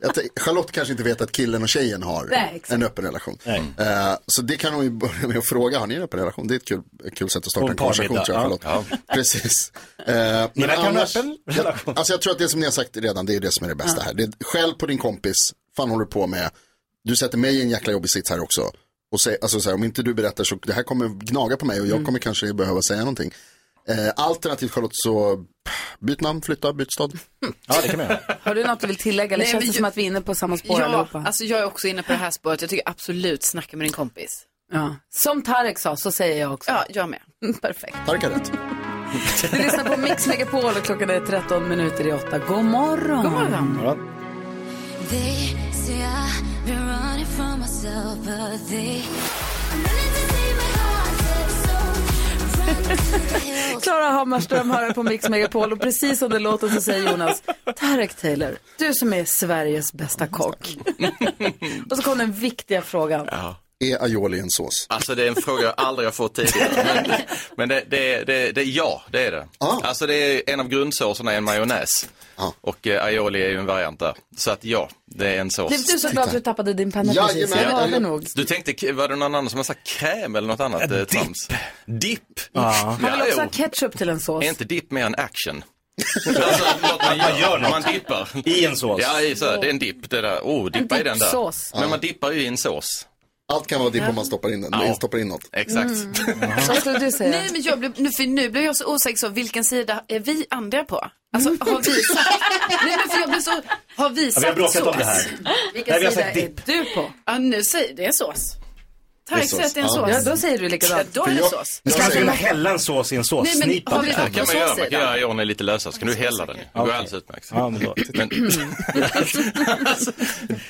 [SPEAKER 5] Jag tänk- Charlotte kanske inte vet att killen och tjejen har
[SPEAKER 2] Nej, exakt.
[SPEAKER 5] en öppen relation. Eh, så det kan hon ju börja med att fråga, har ni en öppen relation? Det är ett kul, ett kul sätt att starta
[SPEAKER 7] Och
[SPEAKER 5] en konversation
[SPEAKER 7] parmiddag,
[SPEAKER 5] tror jag, Charlotte.
[SPEAKER 7] ja.
[SPEAKER 5] Precis. Eh, men
[SPEAKER 7] Ni verkar ha en öppen
[SPEAKER 5] relation. Alltså jag tror att det som ni har sagt redan, det är det som är det bästa
[SPEAKER 2] Ja.
[SPEAKER 5] här. Det är skäll på din kompis, fan håller du på med? Du sätter mig i en jäkla jobbig sits här också. Och säg, alltså så här, om inte du berättar så, det här kommer gnaga på mig och jag
[SPEAKER 2] Mm.
[SPEAKER 5] kommer kanske behöva säga någonting. Eh, alternativt Charlotte, så byt namn, flytta, byt stad.
[SPEAKER 7] Ja, det kan man göra.
[SPEAKER 2] Har du något du vill tillägga eller
[SPEAKER 4] Nej,
[SPEAKER 2] känns
[SPEAKER 4] men ju-
[SPEAKER 2] det som att vi är inne på samma spår
[SPEAKER 4] ja,
[SPEAKER 2] allihopa?
[SPEAKER 4] alltså jag är också inne på det här spåret. Jag tycker absolut snacka med din kompis.
[SPEAKER 2] Ja. Som Tarek sa så säger jag också.
[SPEAKER 4] Ja, jag med.
[SPEAKER 2] <laughs> Perfekt.
[SPEAKER 5] Tarek har rätt.
[SPEAKER 2] Du lyssnar på Mix Megapol och klockan är 13 minuter i 8. God morgon.
[SPEAKER 21] God morgon.
[SPEAKER 22] They say I've been running from myself, but they.
[SPEAKER 2] <laughs> Klara Hammarström hör här på Mix Megapol och precis som det låter så säger Jonas, Tarek Taylor, du som är Sveriges bästa kock. och så kom den viktiga frågan.
[SPEAKER 5] Är E. aioli en sås?
[SPEAKER 18] Alltså det är en fråga jag aldrig har fått tidigare. Men, men det, det, det, det, ja, det är det.
[SPEAKER 5] Ah.
[SPEAKER 18] Alltså det är en av grundsåserna är en majonnäs. Och eh, aioli är ju en variant där. Så att ja, det är en sås.
[SPEAKER 2] Blev du så glad att du tappade din penna precis? Jag hörde nog.
[SPEAKER 18] Du tänkte, var det någon annan som har sagt kräm eller något annat eh, trams?
[SPEAKER 7] Ah.
[SPEAKER 18] Dipp. Ja.
[SPEAKER 2] Man vill också ha
[SPEAKER 18] jo.
[SPEAKER 2] ketchup till en sås.
[SPEAKER 18] Är inte dipp mer en action? alltså, något man gör, man dippar.
[SPEAKER 7] I en sås?
[SPEAKER 18] Ja, i så här, det är en dipp. Det där. Oh, dippa i den där.
[SPEAKER 2] dippsås.
[SPEAKER 18] Men man dippar ju i en sås.
[SPEAKER 5] Allt kan vara dipp om man stoppar in, ja. stoppar in något.
[SPEAKER 18] Exakt.
[SPEAKER 2] Mm. Vad skulle du säga?
[SPEAKER 4] Nej, men jag blev, nu, för nu blev jag så osäker, så vilken sida är vi andra på? Alltså,
[SPEAKER 2] Mm.
[SPEAKER 4] har vi <laughs> sagt... Nej, men för jag blev så... Har vi
[SPEAKER 7] Ja,
[SPEAKER 4] sagt
[SPEAKER 7] vi har bråkat
[SPEAKER 4] sås?
[SPEAKER 7] om det här.
[SPEAKER 4] Vilken
[SPEAKER 7] Nej, vi har
[SPEAKER 4] sida
[SPEAKER 7] sagt
[SPEAKER 4] är
[SPEAKER 7] dipp.
[SPEAKER 4] du på? Ja, nu säger det är sås.
[SPEAKER 7] Det är
[SPEAKER 4] Tack säger
[SPEAKER 7] sås.
[SPEAKER 4] att det är en
[SPEAKER 7] Ja.
[SPEAKER 4] sås.
[SPEAKER 7] Ja,
[SPEAKER 2] då säger du likadant.
[SPEAKER 4] Ja, då är det sås.
[SPEAKER 7] Jag skulle kunna
[SPEAKER 4] säger-
[SPEAKER 7] hälla en sås i en
[SPEAKER 4] Nej, men
[SPEAKER 7] såssnipa.
[SPEAKER 4] har vi varit
[SPEAKER 18] kan man göra. Man kan göra Johnny lite lösare. Ska du hälla den? ju. Det går
[SPEAKER 7] Okej.
[SPEAKER 18] alldeles utmärkt.
[SPEAKER 7] Ja, men då.
[SPEAKER 18] Men, <laughs> alltså,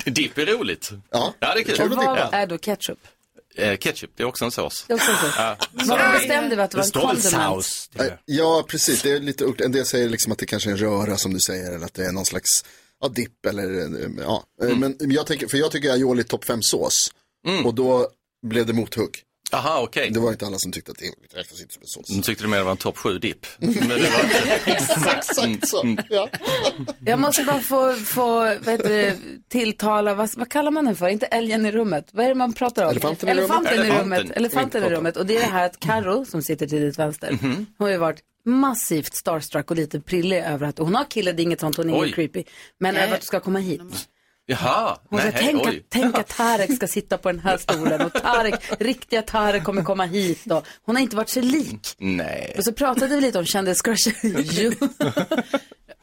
[SPEAKER 18] dipp är roligt. Ja, det är kul.
[SPEAKER 2] Och vad
[SPEAKER 18] Ja.
[SPEAKER 2] är då ketchup?
[SPEAKER 18] Eh, Ketchup, det är också en sås.
[SPEAKER 2] Det är också en sås.
[SPEAKER 18] Ja.
[SPEAKER 2] Vad bestämde vi att det var en kondiment?
[SPEAKER 5] Eh, Ja, precis. Det är lite, ort- en del säger liksom att det kanske är en röra som du säger eller att det är någon slags ja, dipp eller eh, ja. Eh,
[SPEAKER 18] Mm.
[SPEAKER 5] Men jag tänker, för jag tycker aioli topp 5 sås och då blev det mothugg.
[SPEAKER 18] Aha, okej.
[SPEAKER 5] Det var inte alla som tyckte att det räknas inte som en sås.
[SPEAKER 18] Nu Mm, tyckte du mer det var en topp
[SPEAKER 5] <laughs>
[SPEAKER 18] 7-dipp. Men det var... Mm.
[SPEAKER 5] Exakt så. Ja.
[SPEAKER 2] Jag måste bara få, få vad heter det, tilltala, vad, vad kallar man den för? Inte älgen i rummet. Vad är det man pratar om?
[SPEAKER 5] Elefanten i rummet.
[SPEAKER 2] Elefanten i
[SPEAKER 5] Elefanten.
[SPEAKER 2] rummet. Elefanten i
[SPEAKER 5] Inte
[SPEAKER 2] rummet. Och det är det här att Karo som sitter till ditt vänster, hon har ju varit massivt starstruck och lite prillig över att hon har kille, det är inget sånt, hon är
[SPEAKER 18] Oj.
[SPEAKER 2] ingen creepy. Men
[SPEAKER 18] Nej.
[SPEAKER 2] över att du ska komma hit.
[SPEAKER 18] Jaha,
[SPEAKER 2] Hon sa,
[SPEAKER 18] nej, hej,
[SPEAKER 2] tänk, att,
[SPEAKER 18] oj.
[SPEAKER 2] tänk att Tarek ska sitta på den här stolen och Tarek, riktiga Tarek kommer komma hit. Och hon har inte varit sig lik.
[SPEAKER 18] Nej.
[SPEAKER 2] Och så pratade vi lite om kändiscrusher. Jo.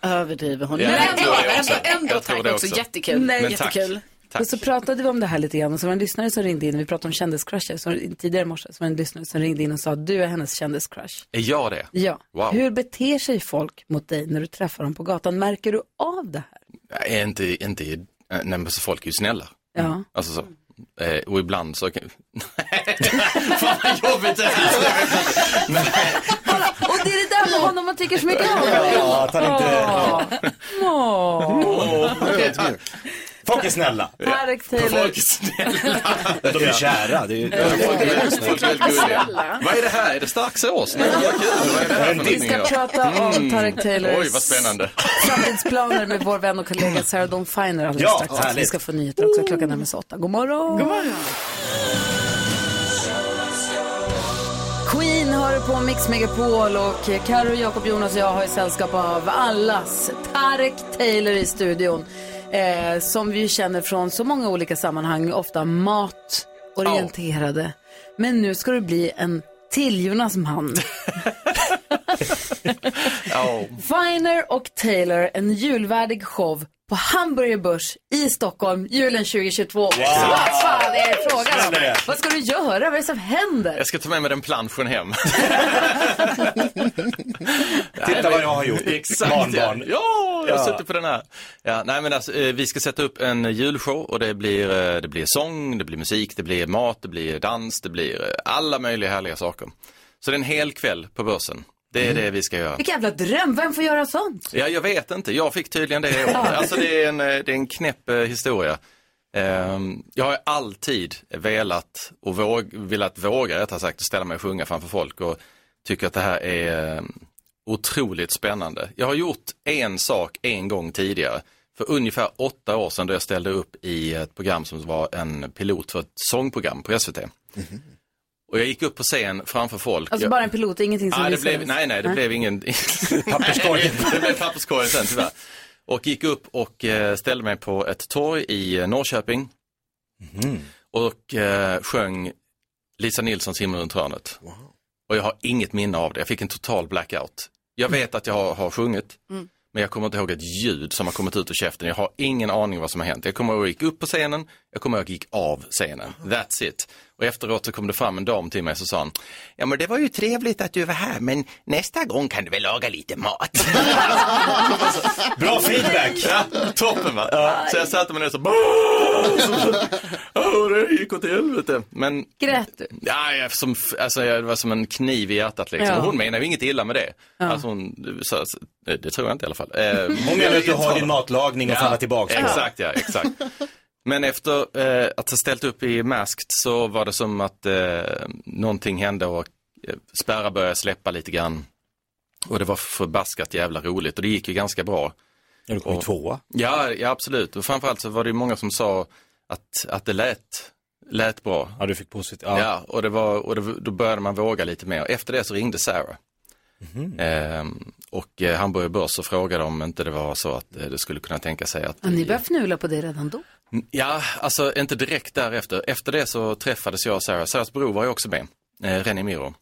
[SPEAKER 2] Överdriver hon.
[SPEAKER 4] Ja,
[SPEAKER 2] Men
[SPEAKER 4] jag
[SPEAKER 2] ändå,
[SPEAKER 4] tror det
[SPEAKER 2] ändå,
[SPEAKER 4] också.
[SPEAKER 2] ändå
[SPEAKER 4] Jag tror
[SPEAKER 2] tack
[SPEAKER 4] det
[SPEAKER 2] också.
[SPEAKER 4] också.
[SPEAKER 2] Jättekul.
[SPEAKER 4] Nej,
[SPEAKER 2] Men
[SPEAKER 4] tack.
[SPEAKER 2] jättekul.
[SPEAKER 4] Tack.
[SPEAKER 2] Och så pratade vi om det här lite grann och så var det en lyssnare som ringde in, vi pratade om kändiscrusher, så tidigare i morse, så var det en lyssnare som ringde in och sa du är hennes kändiscrush.
[SPEAKER 18] Är jag det?
[SPEAKER 2] Ja.
[SPEAKER 18] Wow.
[SPEAKER 2] Hur beter sig folk mot dig när du träffar dem på gatan? Märker du av det här?
[SPEAKER 18] Nej, inte, inte, eh, nej, men så folk är ju snälla.
[SPEAKER 2] Ja.
[SPEAKER 18] Alltså så. Eh, och ibland så kan... Nej, fan vad jobbigt det
[SPEAKER 4] <laughs>
[SPEAKER 18] här
[SPEAKER 2] Och det är det där med honom man tycker så mycket om.
[SPEAKER 7] Ja, att han inte...
[SPEAKER 2] Åh. Åh.
[SPEAKER 7] Folk är snälla.
[SPEAKER 2] Tarek Taylor.
[SPEAKER 7] De är kära. Det är...
[SPEAKER 18] Folk är väldigt- folk är väldigt gulliga. Vad är det här? Är det stark sås? Nej, vad kul. Vad är det här för
[SPEAKER 2] Vi
[SPEAKER 18] någonting?
[SPEAKER 2] ska prata om Tarek Taylors
[SPEAKER 18] Mm. Oj, vad spännande. Mm.
[SPEAKER 2] Framtidsplaner med vår vän och kollega Sarah Dawn Finer alldeles
[SPEAKER 18] Ja,
[SPEAKER 2] strax.
[SPEAKER 18] härligt.
[SPEAKER 2] Vi ska få nyheter också. Klockan närmar sig åtta. God morgon. God morgon. Queen hör på Mix Megapol och Karo, Jakob, Jonas och jag har ju sällskap av allas Tarek Taylor i studion. Eh, som vi ju känner från så många olika sammanhang, ofta matorienterade. Men nu ska du bli en till Jonas man.
[SPEAKER 18] Ja.
[SPEAKER 2] Viner och Taylor, en julvärdig show på Hamburger Börs i Stockholm julen 2022. Wow. Vad fan är frågan om?
[SPEAKER 18] Spännande.
[SPEAKER 2] Vad ska du göra? Vad är det som händer?
[SPEAKER 18] Jag ska ta med mig den planschen hem.
[SPEAKER 7] <laughs> Titta vad jag har gjort.
[SPEAKER 18] Exakt.
[SPEAKER 7] Barnbarn.
[SPEAKER 18] Ja, Ja, jag
[SPEAKER 7] Ja.
[SPEAKER 18] sitter på den här. Ja, nej, men alltså, eh, vi ska sätta upp en julshow och det blir, eh, det blir sång, det blir musik, det blir mat, det blir dans, det blir eh, alla möjliga härliga saker. Så det är en hel kväll på börsen. Det
[SPEAKER 7] Mm.
[SPEAKER 18] är det vi ska göra.
[SPEAKER 2] Vilken jävla dröm, vem får göra sånt?
[SPEAKER 18] Ja, jag vet inte. Jag fick tydligen det i år. Alltså det är en, eh, det är en knäpp eh, historia. Ehm, Jag har alltid velat och våg, velat våga, rättare sagt, ställa mig och sjunga framför folk och tycker att det här är eh, otroligt spännande. Jag har gjort en sak en gång tidigare, för ungefär åtta år sedan då jag ställde upp i ett program som var en pilot för ett sångprogram på SVT. Och jag gick upp på scen framför folk.
[SPEAKER 2] Mhm. Alltså
[SPEAKER 18] jag...
[SPEAKER 2] bara en pilot, ingenting som
[SPEAKER 18] Nej, Ah, det
[SPEAKER 2] visades.
[SPEAKER 18] blev, nej, nej, det blev <laughs> ingen... Papperskorgen. det blev <laughs> papperskorgen sen tyvärr. Och gick upp och eh, ställde mig på ett torg i eh, Norrköping
[SPEAKER 7] Mm.
[SPEAKER 18] och eh, sjöng Lisa Nilssons Himmel runt hörnet. Och jag har inget minne av det. Jag fick en total blackout. Jag vet att jag har, har sjungit,
[SPEAKER 4] Mm.
[SPEAKER 18] men jag kommer inte ihåg ett ljud som har kommit ut ur käften. Jag har ingen aning vad som har hänt. Jag kommer ihåg att jag gick upp på scenen, jag kommer ihåg att jag gick av scenen. That's it. Och efteråt så kom det fram en dam till mig och så sa hon, ja men det var ju trevligt att du var här, men nästa gång kan du väl laga lite mat.
[SPEAKER 7] <laughs> Bra feedback.
[SPEAKER 18] <laughs> Ja, toppen va? Så jag satte mig ner och så, Åh, <laughs> det gick åt helvete. Men
[SPEAKER 2] Grät du?
[SPEAKER 18] Ja, jag, som, alltså, jag det var som en kniv i hjärtat liksom.
[SPEAKER 2] Ja.
[SPEAKER 18] Och Hon menar ju inget illa med det.
[SPEAKER 2] Ja.
[SPEAKER 18] Alltså, hon, så, så, det tror jag inte i alla fall. Eh,
[SPEAKER 7] Hon menar att du har din matlagning att falla tillbaka på.
[SPEAKER 18] Exakt, ja, exakt. Men efter eh, att ha ställt upp i Masked så var det som att eh, någonting hände och eh, spärrar började släppa lite grann. Och det var förbaskat jävla roligt och det gick ju ganska bra.
[SPEAKER 7] Ja, du kom ju tvåa.
[SPEAKER 18] Ja, ja, absolut. Och framförallt så var det ju många som sa att, att det lät, lät bra.
[SPEAKER 7] Ja, du fick positivt.
[SPEAKER 18] Ja,
[SPEAKER 7] Ja.
[SPEAKER 18] och, det var, och det, då började man våga lite mer. Efter det så ringde Sarah.
[SPEAKER 7] Mhm.
[SPEAKER 18] Ehm, och eh, Hamburger Börs och frågade om inte det var så att eh, det skulle kunna tänka sig att...
[SPEAKER 2] Ja, ni börjar fnula på det redan då.
[SPEAKER 18] Ja, alltså inte direkt därefter. Efter det så träffades jag och Sarah. Sarahs bror var ju också med, eh, René Miro.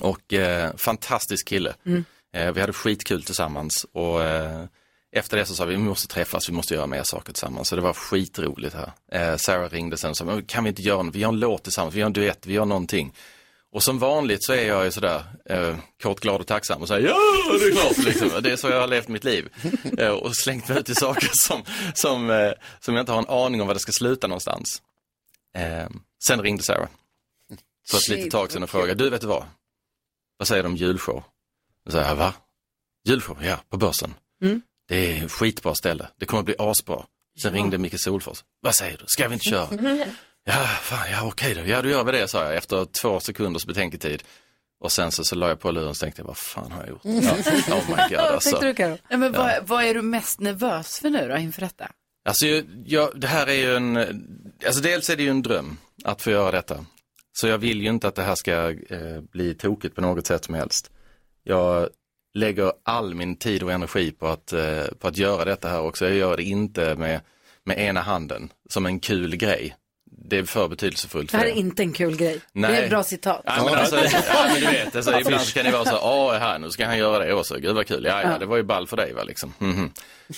[SPEAKER 18] Och eh, fantastisk kille.
[SPEAKER 16] Mm.
[SPEAKER 18] Eh, vi hade skitkul tillsammans och eh, efter det så sa vi, vi måste träffas, vi måste göra mer saker tillsammans. Så det var skitroligt här. Eh, Sarah ringde sen och sa, "Men kan vi inte göra något, vi gör en låt tillsammans, vi gör en duett, vi gör någonting. Och som vanligt så är jag ju sådär eh, kort, glad och tacksam och säger ja, det är klart. Liksom. Det är så jag har levt mitt liv. Eh, och slängt mig ut i saker som, som, eh, som jag inte har en aning om var det ska sluta någonstans. Eh, sen ringde Sarah för ett
[SPEAKER 21] Shit,
[SPEAKER 18] litet tag sedan
[SPEAKER 21] vad
[SPEAKER 18] och frågade, du vet du vad? Vad säger du om julshow? Då säger jag, va? Julshow, ja, på börsen.
[SPEAKER 21] Mm.
[SPEAKER 18] Det är skitbra ställe, det kommer bli asbra. Sen ringde Micke Solfors, vad säger du, ska vi inte
[SPEAKER 21] <laughs>
[SPEAKER 18] köra?
[SPEAKER 7] Mm.
[SPEAKER 18] Ja, fan, ja okej då. Ja, då gör vi det, sa jag efter två sekunders betänketid. Och sen så, så la jag på luren och tänkte, vad fan har
[SPEAKER 21] <laughs>
[SPEAKER 18] jag gjort? Ja, oh
[SPEAKER 2] <laughs>
[SPEAKER 18] my god alltså.
[SPEAKER 4] Nej, men
[SPEAKER 18] Ja.
[SPEAKER 4] vad, vad är du mest nervös för nu då inför detta?
[SPEAKER 18] Alltså, ju- jag, det här är ju en, alltså dels är det ju en dröm att få göra detta. Så jag vill ju inte att det här ska eh, bli tokigt på något sätt som helst. Jag lägger all min tid och energi på att, eh, på att göra detta här också. Jag gör det inte med, med ena handen, som en kul grej. Det är för betydelsefullt för
[SPEAKER 2] Det här är inte en kul grej. Det är ett bra citat.
[SPEAKER 18] Ja, men, alltså, ja, men du vet,
[SPEAKER 2] <laughs>
[SPEAKER 18] alltså, ibland så kan det vara så, ja här, nu ska han göra det också, gud vad kul, ja, ja,
[SPEAKER 2] Ja.
[SPEAKER 18] det var ju ball för dig va, liksom. Mhm.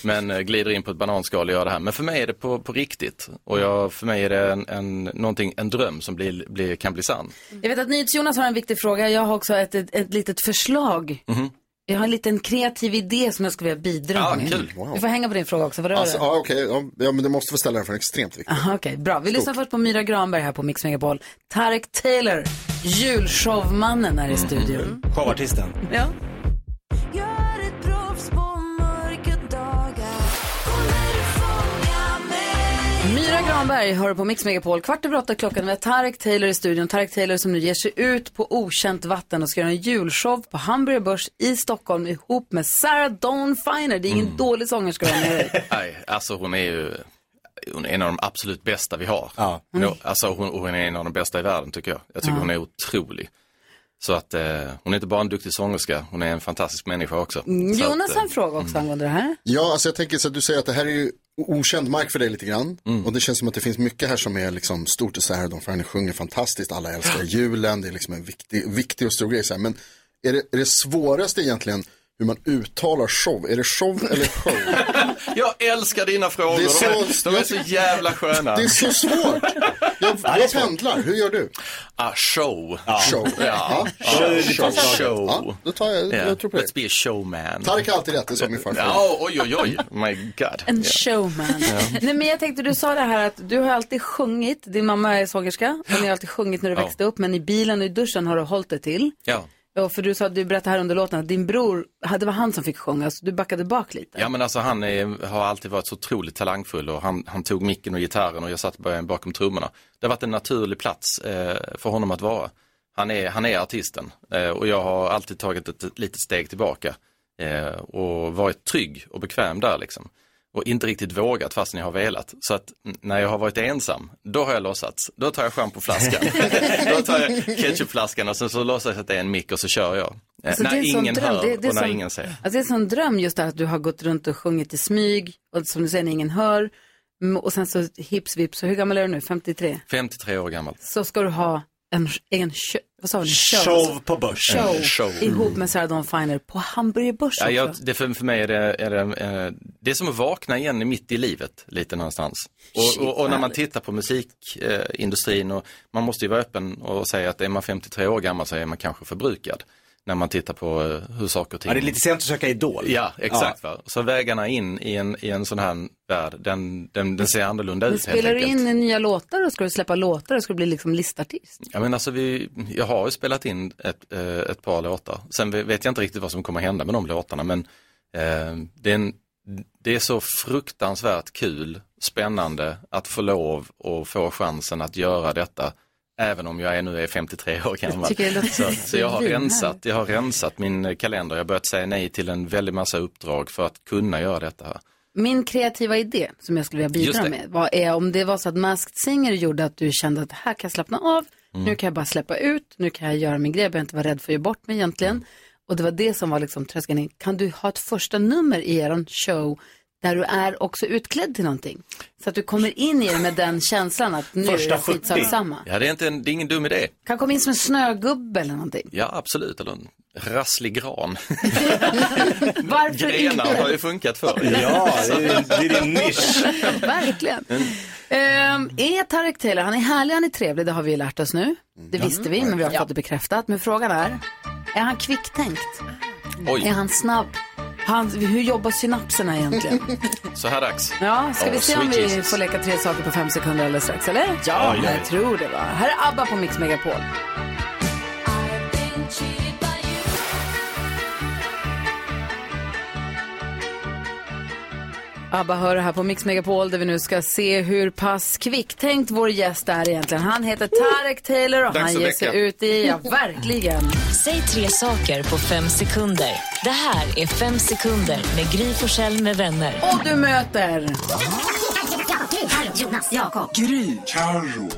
[SPEAKER 18] Men eh, glider in på ett bananskal och gör det här. Men för mig är det på, på riktigt och jag, för mig är det en, en, någonting, en dröm som blir, blir, kan bli sann.
[SPEAKER 2] Jag vet att NyhetsJonas har en viktig fråga. Jag har också ett, ett, ett litet förslag.
[SPEAKER 18] Mhm.
[SPEAKER 2] Jag har en liten kreativ idé som jag skulle vilja bidra
[SPEAKER 5] Ah,
[SPEAKER 2] med.
[SPEAKER 5] kul. Wow.
[SPEAKER 2] Du får hänga på din fråga också. Vad rör
[SPEAKER 5] Alltså,
[SPEAKER 2] det?
[SPEAKER 5] ja, okej, ja, ja, men du måste få ställa den för den är extremt viktig.
[SPEAKER 2] Aha, okej, bra. Vi lyssnar först på Myra Granberg här på Mix Megapol. Tarek Taylor, julshowmannen,
[SPEAKER 18] Mhm.
[SPEAKER 2] är i studion.
[SPEAKER 18] Mm.
[SPEAKER 7] Showartisten.
[SPEAKER 2] Ja. Myra Granberg hör på Mix Megapol. Kvart över åtta klockan med Tarek Taylor i studion. Tarek Taylor som nu ger sig ut på okänt vatten och ska göra en julshow på Hamburger Börs i Stockholm ihop med Sarah Dawn Finer. Det är ingen
[SPEAKER 18] Mm.
[SPEAKER 2] dålig sångerska hon är.
[SPEAKER 18] Nej, alltså hon är ju hon är en av de absolut bästa vi har. Ja. Alltså hon, hon är en av de bästa i världen tycker jag. Jag tycker
[SPEAKER 2] Ja.
[SPEAKER 18] hon är otrolig. Så att eh, hon är inte bara en duktig sångerska, hon är en fantastisk människa också. <laughs>
[SPEAKER 2] Mm,
[SPEAKER 18] Så att,
[SPEAKER 2] Jonas
[SPEAKER 18] eh,
[SPEAKER 2] har en fråga också angående det här.
[SPEAKER 5] Ja, alltså jag tänker så att du säger att det här är ju okänd mark för dig lite grann. Och det känns som att det finns mycket här som är liksom stort och så här, de Ferner sjunger fantastiskt, alla älskar julen, det är liksom en viktig, viktig och stor grej så här. Men är det, är det svåraste egentligen hur man uttalar show? Är det show eller show?
[SPEAKER 18] Jag älskar dina frågor,
[SPEAKER 5] Det är så-
[SPEAKER 18] de, är, de är så jävla sköna.
[SPEAKER 5] <laughs> Det är så svårt. Jag, jag pendlar, hur gör du?
[SPEAKER 18] Ah, show.
[SPEAKER 5] Show.
[SPEAKER 18] Ja.
[SPEAKER 5] Ja. Show.
[SPEAKER 18] Show. show.
[SPEAKER 5] Ja, då tar jag, jag tror på det.
[SPEAKER 18] Let's be a showman.
[SPEAKER 5] Tarek har alltid rätt, det sa min farfar.
[SPEAKER 18] Ja, oj, oj, oj. My God.
[SPEAKER 2] En showman.
[SPEAKER 18] Ja.
[SPEAKER 2] Nej, men jag tänkte, du sa det här att du har alltid sjungit, din mamma är sångerska, och ni har alltid sjungit när du
[SPEAKER 18] Ja.
[SPEAKER 2] växte upp, men i bilen och i duschen har du hållit det till.
[SPEAKER 18] Ja.
[SPEAKER 2] Ja, för du sa, du berättade här under låten att din bror, det var han som fick sjunga, så du backade bak lite.
[SPEAKER 18] Ja men alltså han är, har alltid varit så otroligt talangfull och han, han tog micken och gitarren och jag satt bara bakom trummorna. Det har varit en naturlig plats eh, för honom att vara. Han är, han är artisten eh, och jag har alltid tagit ett, ett litet steg tillbaka eh, och varit trygg och bekväm där liksom. Och inte riktigt vågat fast jag har velat. Så att mm, när jag har varit ensam, då har jag låtsats. Då tar jag schampoflaskan,
[SPEAKER 2] <laughs>
[SPEAKER 18] då tar jag ketchupflaskan och sen så låtsas jag att det är en mick och så kör jag. Eh,
[SPEAKER 2] Alltså,
[SPEAKER 18] när
[SPEAKER 2] det är en sån
[SPEAKER 18] ingen
[SPEAKER 2] dröm.
[SPEAKER 18] hör
[SPEAKER 2] Det- det är
[SPEAKER 18] och när
[SPEAKER 2] som-
[SPEAKER 18] ingen ser.
[SPEAKER 2] Alltså det är en sån dröm just det här att du har gått runt och sjungit i smyg, och som du säger, när ingen hör, Mm, och sen så hips vips, så hur gammal är du nu, 53?
[SPEAKER 18] 53 år gammal.
[SPEAKER 2] Så ska du ha en, en show, vad sa ni?
[SPEAKER 18] Show på börsen.
[SPEAKER 2] Show,
[SPEAKER 18] En show. Mm.
[SPEAKER 2] ihop med Sarah Dawn Finer på Hamburgerbörsen.
[SPEAKER 18] Ja, jag,
[SPEAKER 2] också.
[SPEAKER 18] det för, för mig är det, är det, eh, det är som att vakna igen mitt i livet lite någonstans. Och, och, och när man tittar på musikindustrin eh, industrin och man måste ju vara öppen och säga att är man 53 år gammal så är man kanske förbrukad. När man tittar på eh, hur saker och ting...
[SPEAKER 7] Ja, det är lite sent att söka idol.
[SPEAKER 18] Ja, exakt. Va? Så vägarna in i en, i en sån här värld, den, den, den ser annorlunda ut helt
[SPEAKER 2] Spelar du
[SPEAKER 18] enkelt.
[SPEAKER 2] in i nya låtar och ska du släppa låtar och ska du bli liksom listartist?
[SPEAKER 18] Ja, men alltså vi, jag har ju spelat in ett, eh, ett par låtar. Sen vet jag inte riktigt vad som kommer hända med de låtarna men eh, det, är en, det är så fruktansvärt kul, spännande att få lov och få chansen att göra detta. Även om jag är, nu är 53 år gammal.
[SPEAKER 2] tycker det låter
[SPEAKER 18] Så, så jag, har
[SPEAKER 2] svinhärligt.
[SPEAKER 18] rensat, jag har rensat min kalender. Jag har börjat säga nej till en väldig massa uppdrag för att kunna göra detta. här.
[SPEAKER 2] Min kreativa idé som jag skulle vilja
[SPEAKER 18] Just
[SPEAKER 2] bidra
[SPEAKER 18] det.
[SPEAKER 2] med vad är om det var så att Masked Singer gjorde att du kände att här kan jag slappna av,
[SPEAKER 15] Mm.
[SPEAKER 2] nu kan jag bara släppa ut, nu kan jag göra min grej, jag behöver inte vara rädd för att ge bort mig egentligen.
[SPEAKER 18] Mm.
[SPEAKER 2] Och det var det som var liksom tröskeln in. Kan du ha ett första nummer i er show där du är också utklädd till någonting? Så att du kommer in i det med den känslan att nu är det skitsamma.
[SPEAKER 18] Ja, det är, inte en, det är ingen dum idé.
[SPEAKER 2] Kan komma in som en snögubbe
[SPEAKER 18] <laughs>
[SPEAKER 2] eller någonting.
[SPEAKER 18] Ja, absolut. Eller en rasslig gran.
[SPEAKER 2] <laughs> Varför
[SPEAKER 18] Grenar har ju funkat förr.
[SPEAKER 7] Ja, det är- det är din nisch.
[SPEAKER 2] Verkligen.
[SPEAKER 18] Mm,
[SPEAKER 2] Ehm, är Tarek Taylor, han är härlig, han är trevlig, det har vi ju lärt oss nu. Det
[SPEAKER 18] Ja.
[SPEAKER 2] visste vi, men vi har fått det bekräftat. Men frågan är, är han kvicktänkt? Är han snabb? Han, hur jobbar synapserna egentligen?
[SPEAKER 18] Så här dags.
[SPEAKER 2] Ja, ska vi
[SPEAKER 18] Oh,
[SPEAKER 2] se om
[SPEAKER 18] sweet
[SPEAKER 2] vi
[SPEAKER 18] Jesus.
[SPEAKER 2] får leka tre saker på fem sekunder alldeles strax, eller? Ja,
[SPEAKER 18] Ja, ja, ja.
[SPEAKER 2] jag tror det va. Här är ABBA på Mix Megapol. ABBA hör här på Mix Megapol där vi nu ska se hur pass kvicktänkt vår gäst är egentligen. Han heter Tarek Taylor och
[SPEAKER 8] Dags
[SPEAKER 2] han
[SPEAKER 8] att
[SPEAKER 2] ger sig
[SPEAKER 8] väcka.
[SPEAKER 2] ut i, ja verkligen.
[SPEAKER 1] Säg tre saker på fem sekunder. Det här är fem sekunder med Gry Forssell med vänner.
[SPEAKER 2] Och du möter...
[SPEAKER 1] Jonas, Jakob.
[SPEAKER 2] Gry. Carro.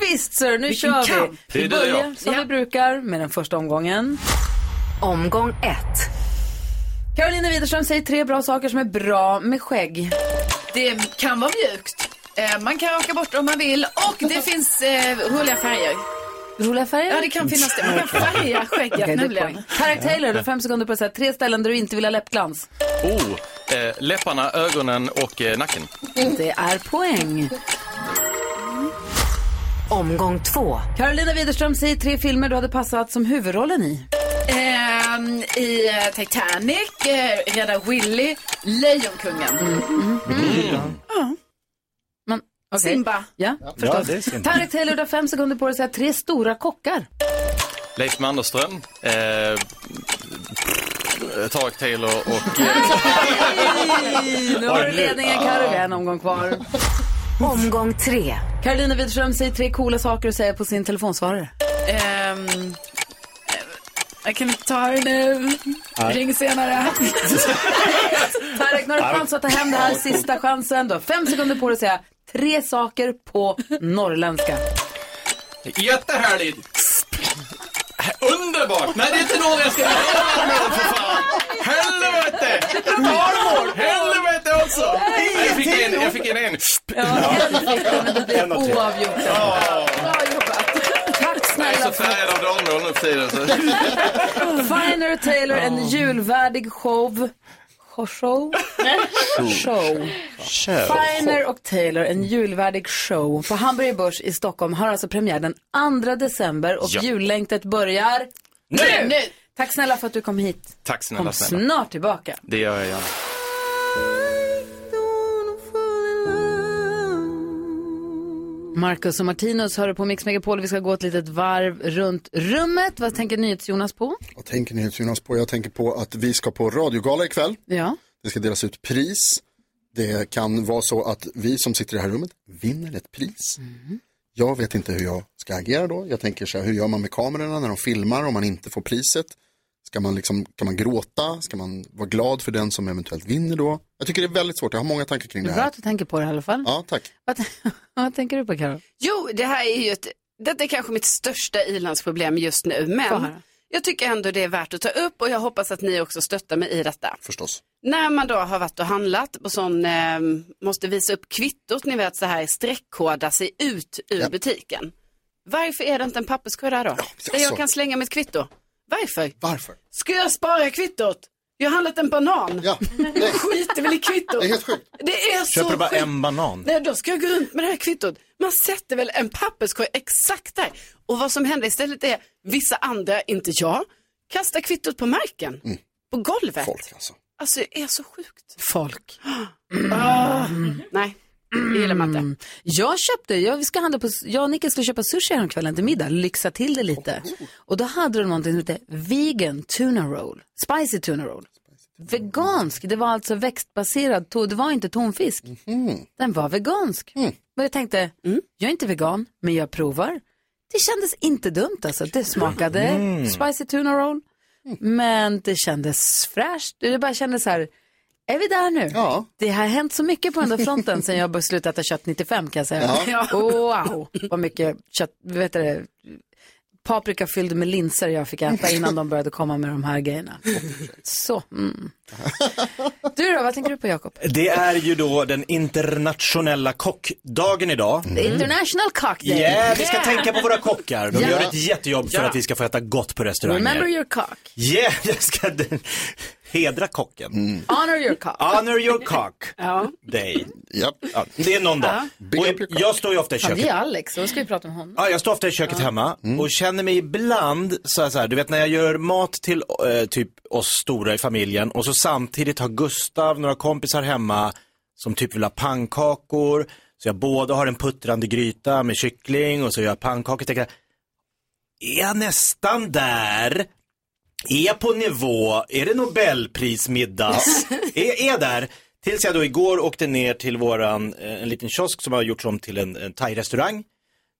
[SPEAKER 2] Visst sir, nu
[SPEAKER 1] Vilken
[SPEAKER 2] kör
[SPEAKER 1] kamp.
[SPEAKER 2] vi.
[SPEAKER 1] Det
[SPEAKER 2] Vi
[SPEAKER 1] är du och jag.
[SPEAKER 2] börjar som vi brukar med den första omgången. Omgång ett. Karolina Widerström säger tre bra saker som är bra med skägg.
[SPEAKER 4] Det kan vara mjukt. Eh, Man kan raka bort om man vill och det
[SPEAKER 2] <laughs>
[SPEAKER 4] finns eh, roliga färger.
[SPEAKER 2] Roliga färger?
[SPEAKER 4] Ja, det kan finnas det. Man kan
[SPEAKER 2] <laughs>
[SPEAKER 4] färga skägget
[SPEAKER 2] Okej, det är
[SPEAKER 4] nämligen.
[SPEAKER 2] poäng. Tarek Taylor, du har fem sekunder på att säga tre ställen där du inte vill ha läppglans.
[SPEAKER 18] Oh, eh, läpparna, ögonen och eh, nacken.
[SPEAKER 2] Det är poäng. Omgång två. Carolina Widerström säger tre filmer du hade passat som huvudrollen i.
[SPEAKER 4] Ehm, I eh, Titanic, eh, Rädda Willy, Lejonkungen.
[SPEAKER 2] Mm, Men, okej.
[SPEAKER 4] Simba.
[SPEAKER 2] Ja,
[SPEAKER 18] Ja,
[SPEAKER 2] förstås.
[SPEAKER 18] det är Simba.
[SPEAKER 2] Tarek Taylor, du har fem sekunder på dig att säga tre stora kockar.
[SPEAKER 18] Leif Mannerström, eh, Tarek Taylor
[SPEAKER 2] <laughs>
[SPEAKER 18] och...
[SPEAKER 2] Nu har du ledningen Carro, vi har en omgång kvar. Omgång tre. Carolina Widerström säger tre coola saker att säga på sin telefonsvarare.
[SPEAKER 4] Ehm, eh, jag kan inte ta det nu.
[SPEAKER 2] Nej.
[SPEAKER 18] <laughs>
[SPEAKER 4] Ring senare.
[SPEAKER 2] Tarek, nu har du chans att ta hem det här. Sista chansen. Du har fem sekunder på dig att säga tre saker på norrländska.
[SPEAKER 16] Jättehärligt! Underbart! Nej, det är inte någon jag ska göra med för fan! Helvete! Dalmål! Helvete också!
[SPEAKER 18] Jag fick en, jag fick en, en.
[SPEAKER 2] En och tre. Oavgjort.
[SPEAKER 18] Jag är så färgad av Dalmål nu för tiden så...
[SPEAKER 2] Finer Taylor, en julvärdig show. Show? Show. Finer och Taylor, en julvärdig show på Hamburger Börs i Stockholm har alltså premiär den 2 december och
[SPEAKER 18] Ja.
[SPEAKER 2] jullängtet börjar nu! Tack snälla för att du kom hit.
[SPEAKER 18] Tack snälla,
[SPEAKER 2] Kom
[SPEAKER 18] snälla.
[SPEAKER 2] snart tillbaka.
[SPEAKER 18] Det gör jag gärna.
[SPEAKER 2] Marcus och Martinus hör på Mix Megapol. Vi ska gå ett litet varv runt rummet. Vad tänker NyhetsJonas på?
[SPEAKER 5] Vad tänker ni Jonas på? Jag tänker på att vi ska på radiogala ikväll.
[SPEAKER 2] Ja.
[SPEAKER 5] Det ska delas ut pris. Det kan vara så att vi som sitter i det här rummet vinner ett pris. Jag vet inte hur jag ska agera då. Jag tänker så här, hur gör man med kamerorna när de filmar om man inte får priset? Ska man liksom, kan man gråta? Ska man vara glad för den som eventuellt vinner då? Jag tycker det är väldigt svårt, jag har många tankar kring
[SPEAKER 2] Det
[SPEAKER 5] det
[SPEAKER 2] är bra
[SPEAKER 5] här.
[SPEAKER 2] att du tänker på det i alla fall.
[SPEAKER 5] Ja, tack.
[SPEAKER 2] Vad tänker du på Carro?
[SPEAKER 4] Jo, det här är ju ett, detta är kanske mitt största ilandsproblem just nu,
[SPEAKER 2] Få
[SPEAKER 4] men
[SPEAKER 2] höra.
[SPEAKER 4] jag tycker ändå det är värt att ta upp och jag hoppas att ni också stöttar mig i detta.
[SPEAKER 5] Förstås.
[SPEAKER 4] När man då har varit och handlat och sån, eh, måste visa upp kvittot, ni vet så här streckkoda sig ut ur butiken. Varför är det inte en papperskorg där då? där jag kan slänga mitt kvitto. Varför?
[SPEAKER 5] Varför?
[SPEAKER 4] Ska jag spara kvittot? Jag har handlat en banan. <laughs>
[SPEAKER 5] Ja.
[SPEAKER 4] Skiter väl i kvittot. Det är helt
[SPEAKER 5] sjukt.
[SPEAKER 4] Det är så
[SPEAKER 7] Köper bara
[SPEAKER 4] sjukt.
[SPEAKER 7] en banan.
[SPEAKER 4] Nej, då ska jag gå runt med det här kvittot. Man sätter väl en papperskorg exakt där. Och vad som händer istället är, vissa andra, inte jag, kastar kvittot på marken. På golvet. Folk
[SPEAKER 5] alltså.
[SPEAKER 4] Alltså det är så sjukt.
[SPEAKER 2] Folk.
[SPEAKER 4] Ah, Nej, det gillar man inte.
[SPEAKER 2] Mm. Jag köpte, jag, vi ska handla på, jag och Nicke skulle köpa sushi häromkvällen till middag, lyxa till det lite.
[SPEAKER 4] Oh,
[SPEAKER 2] Och då hade de någonting som hette vegan tuna roll, spicy tuna roll. Vegansk, det var alltså växtbaserad, to- det var inte tonfisk.
[SPEAKER 15] Mhm.
[SPEAKER 2] Den var vegansk.
[SPEAKER 15] Mm.
[SPEAKER 2] Men jag tänkte, jag är inte vegan, men jag provar. Det kändes inte dumt alltså, det smakade
[SPEAKER 15] Mm.
[SPEAKER 2] spicy tuna roll. Men det kändes fräscht, det bara kändes så här, är vi där nu? Det har hänt så mycket på den där fronten sen jag
[SPEAKER 4] <laughs>
[SPEAKER 2] började <laughs> sluta äta kött 95 kan jag säga.
[SPEAKER 15] Ja.
[SPEAKER 2] Wow, vad mycket kött, vet du det, paprika fylld med linser jag fick äta innan de började komma med de här grejerna. Så.
[SPEAKER 7] <laughs>
[SPEAKER 2] Mm. Du då, vad tänker du på Jakob?
[SPEAKER 7] Det är ju då den internationella kockdagen idag.
[SPEAKER 2] Mm. International cocktail.
[SPEAKER 7] Mm. Yeah, vi ska tänka på våra kockar. De
[SPEAKER 2] Ja.
[SPEAKER 7] gör ett jättejobb för
[SPEAKER 2] Ja.
[SPEAKER 7] att vi ska få äta gott på restauranger.
[SPEAKER 2] Remember your cock.
[SPEAKER 7] Yeah, <laughs> jag ska hedra kocken.
[SPEAKER 4] Mm.
[SPEAKER 2] Honor your cock.
[SPEAKER 7] Honor your cock
[SPEAKER 2] Ja.
[SPEAKER 7] day. Ja, det är någon dag. Och jag står ju ofta i
[SPEAKER 2] Ja, det
[SPEAKER 7] köket.
[SPEAKER 2] är Alex, då ska vi prata om honom.
[SPEAKER 7] Ja, jag står ofta i köket hemma och känner mig ibland så här, så här, du vet när jag gör mat till eh, typ oss stora i familjen och så samtidigt har Gustav några kompisar hemma som typ vill ha pannkakor. Så jag både har en puttrande gryta med kyckling och så gör jag pannkakor. Tänker, är jag nästan där? Är jag på nivå? Är det Nobelprismiddags? är, är jag där? Tills jag då igår åkte ner till våran, eh, en liten kiosk som har gjorts om till en, en thai-restaurang.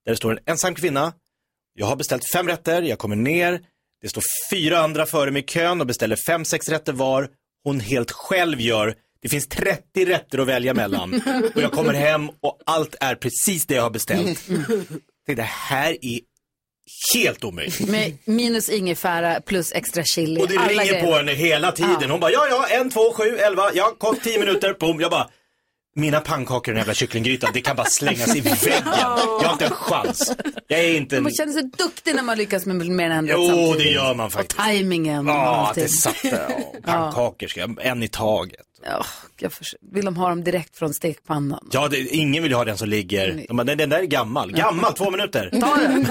[SPEAKER 7] Där det står en ensam kvinna. Jag har beställt fem rätter, jag kommer ner. Det står fyra andra före mig i kön och beställer fem, sex rätter var. Hon helt själv gör. Det finns 30 rätter att välja mellan. Och jag kommer hem och allt är precis det jag har beställt. Tänkte, Det här är helt omöjligt.
[SPEAKER 2] Med minus ingefära plus extra chili.
[SPEAKER 7] Och det
[SPEAKER 2] alla
[SPEAKER 7] ringer
[SPEAKER 2] grejer.
[SPEAKER 7] på henne hela tiden. Hon bara, ja, ja, en, två, sju, elva, ja, kom, tio minuter, boom. Jag bara, mina pannkakor i den jävla kycklinggrytan, det kan bara slängas i väggen. Jag har inte en chans. Jag är inte en...
[SPEAKER 2] Man känner sig duktig när man lyckas med mer än en rätt
[SPEAKER 7] Jo,
[SPEAKER 2] samtidigt.
[SPEAKER 7] det gör man faktiskt.
[SPEAKER 2] Timingen och
[SPEAKER 7] Ja, att
[SPEAKER 2] allting.
[SPEAKER 7] det satt där. Ja, Pannkakor, ska jag, en i taget.
[SPEAKER 2] Ja, jag förs- Vill de ha dem direkt från stekpannan?
[SPEAKER 7] Ja, det, ingen vill ju ha den som ligger. De bara, "Nej, den där är gammal. Gammal, två minuter.
[SPEAKER 2] Ta den!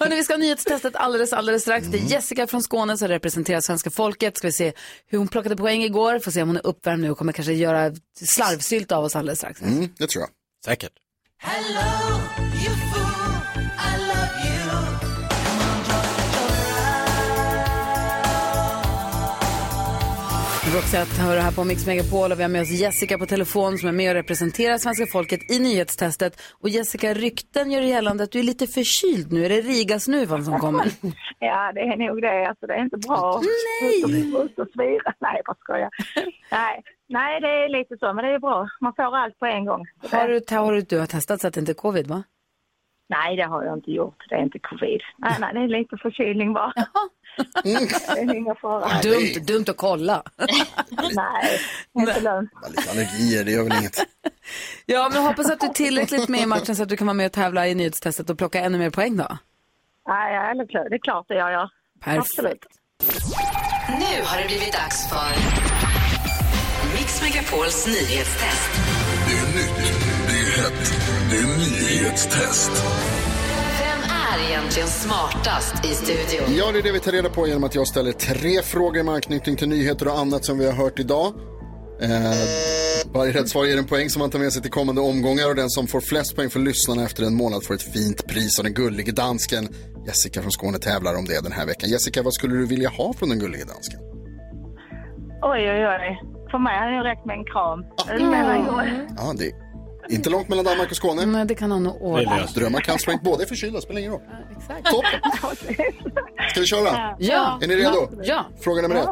[SPEAKER 2] Hörrni, vi ska ha nyhetstestet alldeles, alldeles strax. Det är
[SPEAKER 5] Mm.
[SPEAKER 2] Jessica från Skåne som representerar svenska folket. Ska vi se hur hon plockade poäng igår. Får se om hon är uppvärmd nu och kommer kanske göra slarvsylt av oss alldeles strax.
[SPEAKER 5] Mm, det tror jag.
[SPEAKER 7] Säkert.
[SPEAKER 2] Vi vill också att höra här på Mix Megapol och vi har med oss Jessica på telefon som är med och representerar svenska folket i nyhetstestet. Och Jessica, rykten gör gällande att du är lite förkyld nu. Är det Rigasnuvan som kommer?
[SPEAKER 11] Ja, det är nog det. Alltså, det är inte bra
[SPEAKER 2] Nej!
[SPEAKER 11] att ut och svira. Nej, jag bara skojar. Nej. Nej, det är lite så, men det är bra. Man får allt på en gång. Så
[SPEAKER 2] Har
[SPEAKER 11] det-
[SPEAKER 2] du, har du, du har testat så att det inte är covid, va?
[SPEAKER 11] Nej, det har jag inte gjort. Det är inte covid. Nej, nej, det är lite förkylning bara. Det är ingen fara.
[SPEAKER 2] Dumt, dumt att kolla.
[SPEAKER 11] Nej, inte lönt.
[SPEAKER 5] Lite allergier, det gör väl inget.
[SPEAKER 2] Ja, men jag hoppas att du är tillräckligt med i matchen så att du kan vara med och tävla i nyhetstestet och plocka ännu mer poäng då.
[SPEAKER 11] Nej, ja, eller klart. Det är klart det gör jag.
[SPEAKER 2] Perfekt.
[SPEAKER 11] Absolut.
[SPEAKER 21] Nu har det blivit dags för Mix Megapols nyhetstest.
[SPEAKER 23] Det är nytt, det är hett, det är nyhetstest.
[SPEAKER 21] Vem är egentligen smartast i studion?
[SPEAKER 5] Ja, det är det vi tar reda på genom att jag ställer tre frågor med anknytning till nyheter och annat som vi har hört idag. Eh, varje rätt svar ger en poäng som man tar med sig till kommande omgångar och den som får flest poäng för lyssnarna efter en månad får ett fint pris av den gullige dansken. Jessica från Skåne tävlar om det den här veckan. Jessica, vad skulle du vilja ha från den gullige dansken?
[SPEAKER 11] Oj, oj, oj. För mig hade det nog räckt med en kram. Det menar jag.
[SPEAKER 5] Ja, det är inte långt mellan Danmark och Skåne.
[SPEAKER 2] Nej, det kan han nog ordna.
[SPEAKER 5] Drömmar kan slå in. Båda är förkylda, spelar ingen roll. Ska vi köra?
[SPEAKER 2] Ja.
[SPEAKER 5] Är ni redo?
[SPEAKER 2] Ja.
[SPEAKER 5] Fråga nummer ett.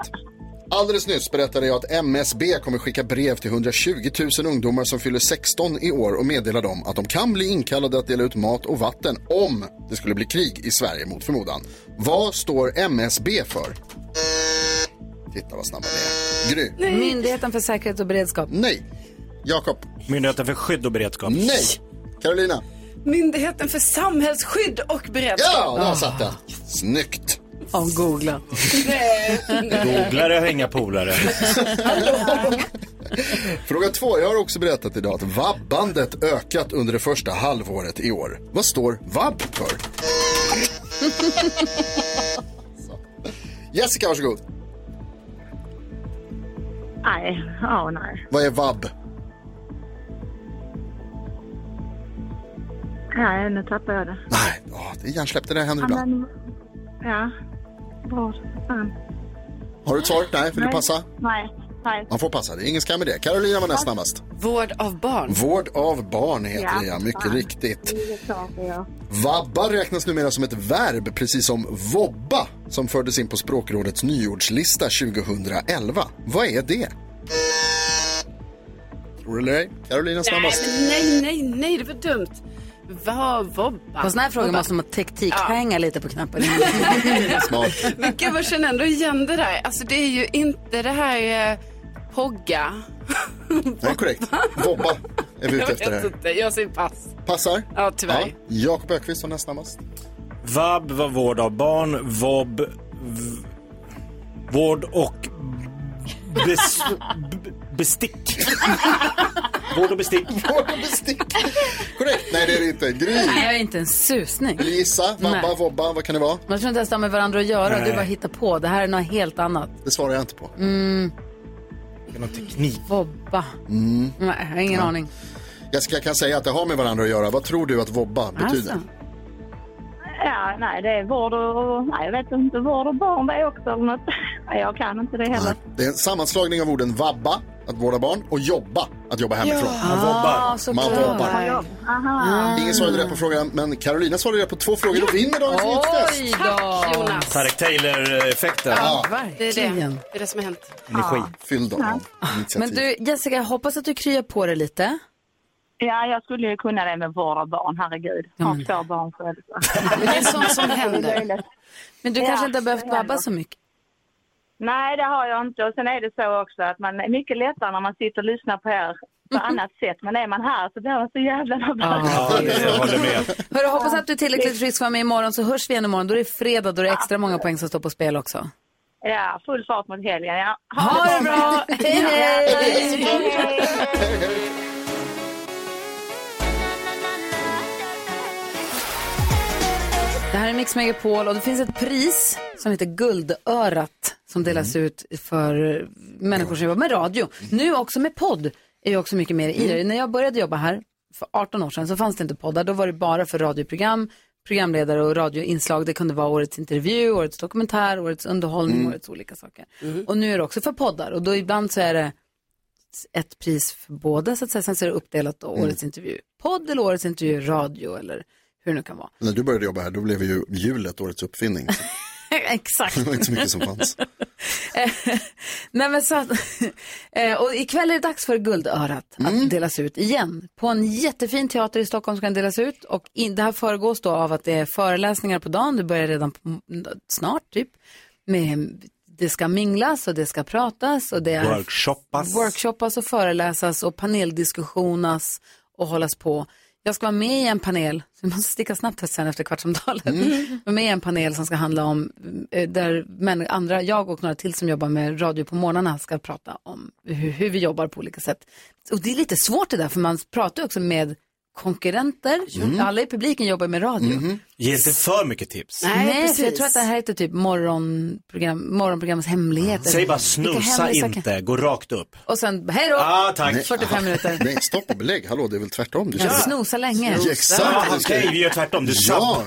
[SPEAKER 5] Alldeles nyss berättade jag att MSB kommer skicka brev till 120 000 ungdomar som fyller 16 i år och meddela dem att de kan bli inkallade att dela ut mat och vatten om det skulle bli krig i Sverige mot förmodan. Vad står MSB för? Titta vad snabba ni är. Gry.
[SPEAKER 2] Myndigheten för säkerhet och beredskap.
[SPEAKER 5] Nej. Jakob.
[SPEAKER 7] Myndigheten för skydd och beredskap.
[SPEAKER 5] Nej. Carolina.
[SPEAKER 4] Myndigheten för samhällsskydd och beredskap.
[SPEAKER 5] Ja, där satt den. Snyggt.
[SPEAKER 2] Om googla.
[SPEAKER 7] Googlare och hänga polare.
[SPEAKER 5] Fråga två. Jag har också berättat idag att vabbandet ökat under det första halvåret i år. Vad står vabb för? Jessica, varsågod.
[SPEAKER 11] Nej, ja, nej.
[SPEAKER 5] Vad är vabb?
[SPEAKER 11] Nej, nu tappar jag det.
[SPEAKER 5] Nej, åh, Ah, det är hjärnsläpp. Det där händer ibland.
[SPEAKER 11] men, ja. Bra som fan.
[SPEAKER 5] Har du ett svar? Nej, vill du
[SPEAKER 11] Nej.
[SPEAKER 5] passa?
[SPEAKER 11] Nej, nej.
[SPEAKER 5] Man får passa. Det är ingen skam i det. Carolina var näst snabbast.
[SPEAKER 4] Vård av barn.
[SPEAKER 5] Vård av barn heter det, ja.
[SPEAKER 11] Ja,
[SPEAKER 5] Mycket
[SPEAKER 11] fan.
[SPEAKER 5] riktigt.
[SPEAKER 11] Det är klart det gör.
[SPEAKER 5] Vabba räknas numera som ett verb, precis som vobba som fördes in på Språkrådets nyordslista 2011. Vad är det? Tror du eller ej? Carolina snabbast.
[SPEAKER 4] Nej, men nej, nej, nej, det var dumt. Vad, vobba.
[SPEAKER 2] På sådana här frågor
[SPEAKER 4] Vobba.
[SPEAKER 2] måste man taktikhänga lite på knappen.
[SPEAKER 5] Smart.
[SPEAKER 4] <laughs> Men gud, jag känner ändå igen det där. Alltså det är ju inte det här eh, pogga.
[SPEAKER 5] Nej, korrekt. Bobba är vi
[SPEAKER 4] Jag
[SPEAKER 5] ute
[SPEAKER 4] vet
[SPEAKER 5] efter här.
[SPEAKER 4] inte, jag säger pass.
[SPEAKER 5] Passar?
[SPEAKER 4] Ja, tyvärr.
[SPEAKER 5] Ja. Jakob Ökvist som näst snabbast.
[SPEAKER 7] Vab var vård av barn, vob, v, vård och bes, b, bestick. Vård och bestick.
[SPEAKER 5] Vård och bestick. <laughs> Korrekt. Nej, det är det inte. Gry.
[SPEAKER 2] Nej, jag är inte en susning.
[SPEAKER 5] Lisa, Vabba,
[SPEAKER 2] Nej.
[SPEAKER 5] Vobba, vad kan det vara?
[SPEAKER 2] Man tror inte ens det har med varandra att göra.
[SPEAKER 5] Nej.
[SPEAKER 2] Du bara hittar på. Det här är något helt annat.
[SPEAKER 5] Det svarar jag inte på.
[SPEAKER 2] Mm,
[SPEAKER 7] Genom teknik.
[SPEAKER 2] vobba.
[SPEAKER 5] Mm.
[SPEAKER 2] Nej, jag har ingen
[SPEAKER 5] Ja.
[SPEAKER 2] aning.
[SPEAKER 5] Jag, ska, jag kan säga att det har med varandra att göra. Vad tror du att Vobba betyder?
[SPEAKER 2] Alltså.
[SPEAKER 11] Ja, nej, det är vård och... Nej, jag vet inte. Vård och barn det också eller något. Nej, Jag kan inte det heller.
[SPEAKER 5] Det är en sammanslagning av orden vabba, att vårda barn, och jobba, att jobba hemifrån.
[SPEAKER 11] Ja, Man vobbar. såklart.
[SPEAKER 5] Man
[SPEAKER 11] Man
[SPEAKER 5] vobbar.
[SPEAKER 11] jobbar.
[SPEAKER 2] Ah.
[SPEAKER 11] Aha.
[SPEAKER 5] Ingen svarade rätt på frågan, men Carolina svarade rätt på två frågor och vinner dagens
[SPEAKER 4] Oj
[SPEAKER 5] nyhetstest.
[SPEAKER 4] Tack Jonas.
[SPEAKER 7] Tarek Taylor-effekten.
[SPEAKER 4] Ja, det är det. Det är det som har hänt.
[SPEAKER 7] Energi.
[SPEAKER 5] Fylld av
[SPEAKER 11] Ja.
[SPEAKER 5] initiativ.
[SPEAKER 2] Men du, Jessica, jag hoppas att du kryar på det lite.
[SPEAKER 11] Ja, jag skulle ju kunna det med vård av barn, herregud. Jag har två barn själv. så.
[SPEAKER 2] Det är sånt som
[SPEAKER 11] <laughs> Det är
[SPEAKER 2] händer.
[SPEAKER 11] löjligt.
[SPEAKER 2] Men du
[SPEAKER 11] Ja,
[SPEAKER 2] kanske inte har behövt
[SPEAKER 11] det händer.
[SPEAKER 2] babba så mycket.
[SPEAKER 11] Nej, det har jag inte. Och sen är det så också att man är mycket lättare när man sitter och lyssnar på er
[SPEAKER 2] Mhm.
[SPEAKER 11] på annat sätt. Men är man här så blir man så jävla nervös.
[SPEAKER 7] Ja, det, jag håller med.
[SPEAKER 2] Hörru, hoppas att du är tillräckligt frisk för att vara med imorgon så hörs vi igen imorgon. Då är det fredag, då är det extra många poäng som står på spel också.
[SPEAKER 11] Ja, full fart mot helgen. Ja.
[SPEAKER 2] Ha det bra! Hej, hej! Det här är Mix Megapol och det finns ett pris som heter Guldörat som delas ut för människor som jobbar med radio. Nu också med podd är ju också mycket mer i det. När jag började jobba här för 18 år sedan så fanns det inte poddar. Då var det bara för radioprogram, programledare och radioinslag. Det kunde vara årets intervju, årets dokumentär, årets underhållning, årets olika saker. Och nu är det också för poddar och då ibland så är det ett pris för båda så att säga. Sen så är det uppdelat då, årets intervju podd eller årets intervju radio eller hur det nu kan vara.
[SPEAKER 5] När du började jobba här, då blev ju hjulet årets uppfinning.
[SPEAKER 2] <laughs>
[SPEAKER 5] <laughs>
[SPEAKER 2] Exakt.
[SPEAKER 5] Det var inte så mycket som fanns.
[SPEAKER 2] <laughs> Nej, men så att, <laughs> eh, och ikväll är det dags för Guldörat att
[SPEAKER 5] Mm.
[SPEAKER 2] delas ut igen. På en jättefin teater i Stockholm ska den delas ut. Och in, det här föregås då av att det är föreläsningar på dagen. Det börjar redan på, mm, snart typ. Med, det ska minglas och det ska pratas och det är
[SPEAKER 7] Workshoppas.
[SPEAKER 2] workshoppas och föreläsas och paneldiskussionas och hållas på. Jag ska vara med i en panel, <laughs> så vi måste sticka snabbt här sen efter kvartsamtalet.
[SPEAKER 7] Mm.
[SPEAKER 2] <laughs> Jag är med i en panel som ska handla om, eh, där män, andra, jag och några till som jobbar med radio på morgnarna ska prata om hur, hur vi jobbar på olika sätt. Och det är lite svårt det där, för man pratar ju också med konkurrenter.
[SPEAKER 7] Mm.
[SPEAKER 2] Alla i publiken jobbar med radio.
[SPEAKER 7] Mm-hmm. Ge inte för mycket tips.
[SPEAKER 2] Nej, för jag tror att det här heter typ morgonprogram, morgonprogrammets hemligheter.
[SPEAKER 7] Säg bara
[SPEAKER 2] Vilka
[SPEAKER 7] snusa
[SPEAKER 2] hemliga saker.
[SPEAKER 7] inte, gå rakt upp.
[SPEAKER 2] Och sen, hej då!
[SPEAKER 7] Ah, tack.
[SPEAKER 5] Nej,
[SPEAKER 7] <laughs>
[SPEAKER 2] 45 minuter.
[SPEAKER 5] Nej, stopp och belägg. Hallå, det är väl tvärtom. Du
[SPEAKER 2] Jag
[SPEAKER 5] ska-
[SPEAKER 2] snosar länge.
[SPEAKER 5] Ja, exakt. Du ska-
[SPEAKER 7] Okej, vi gör tvärtom. Du
[SPEAKER 5] Ja,
[SPEAKER 7] sabbar.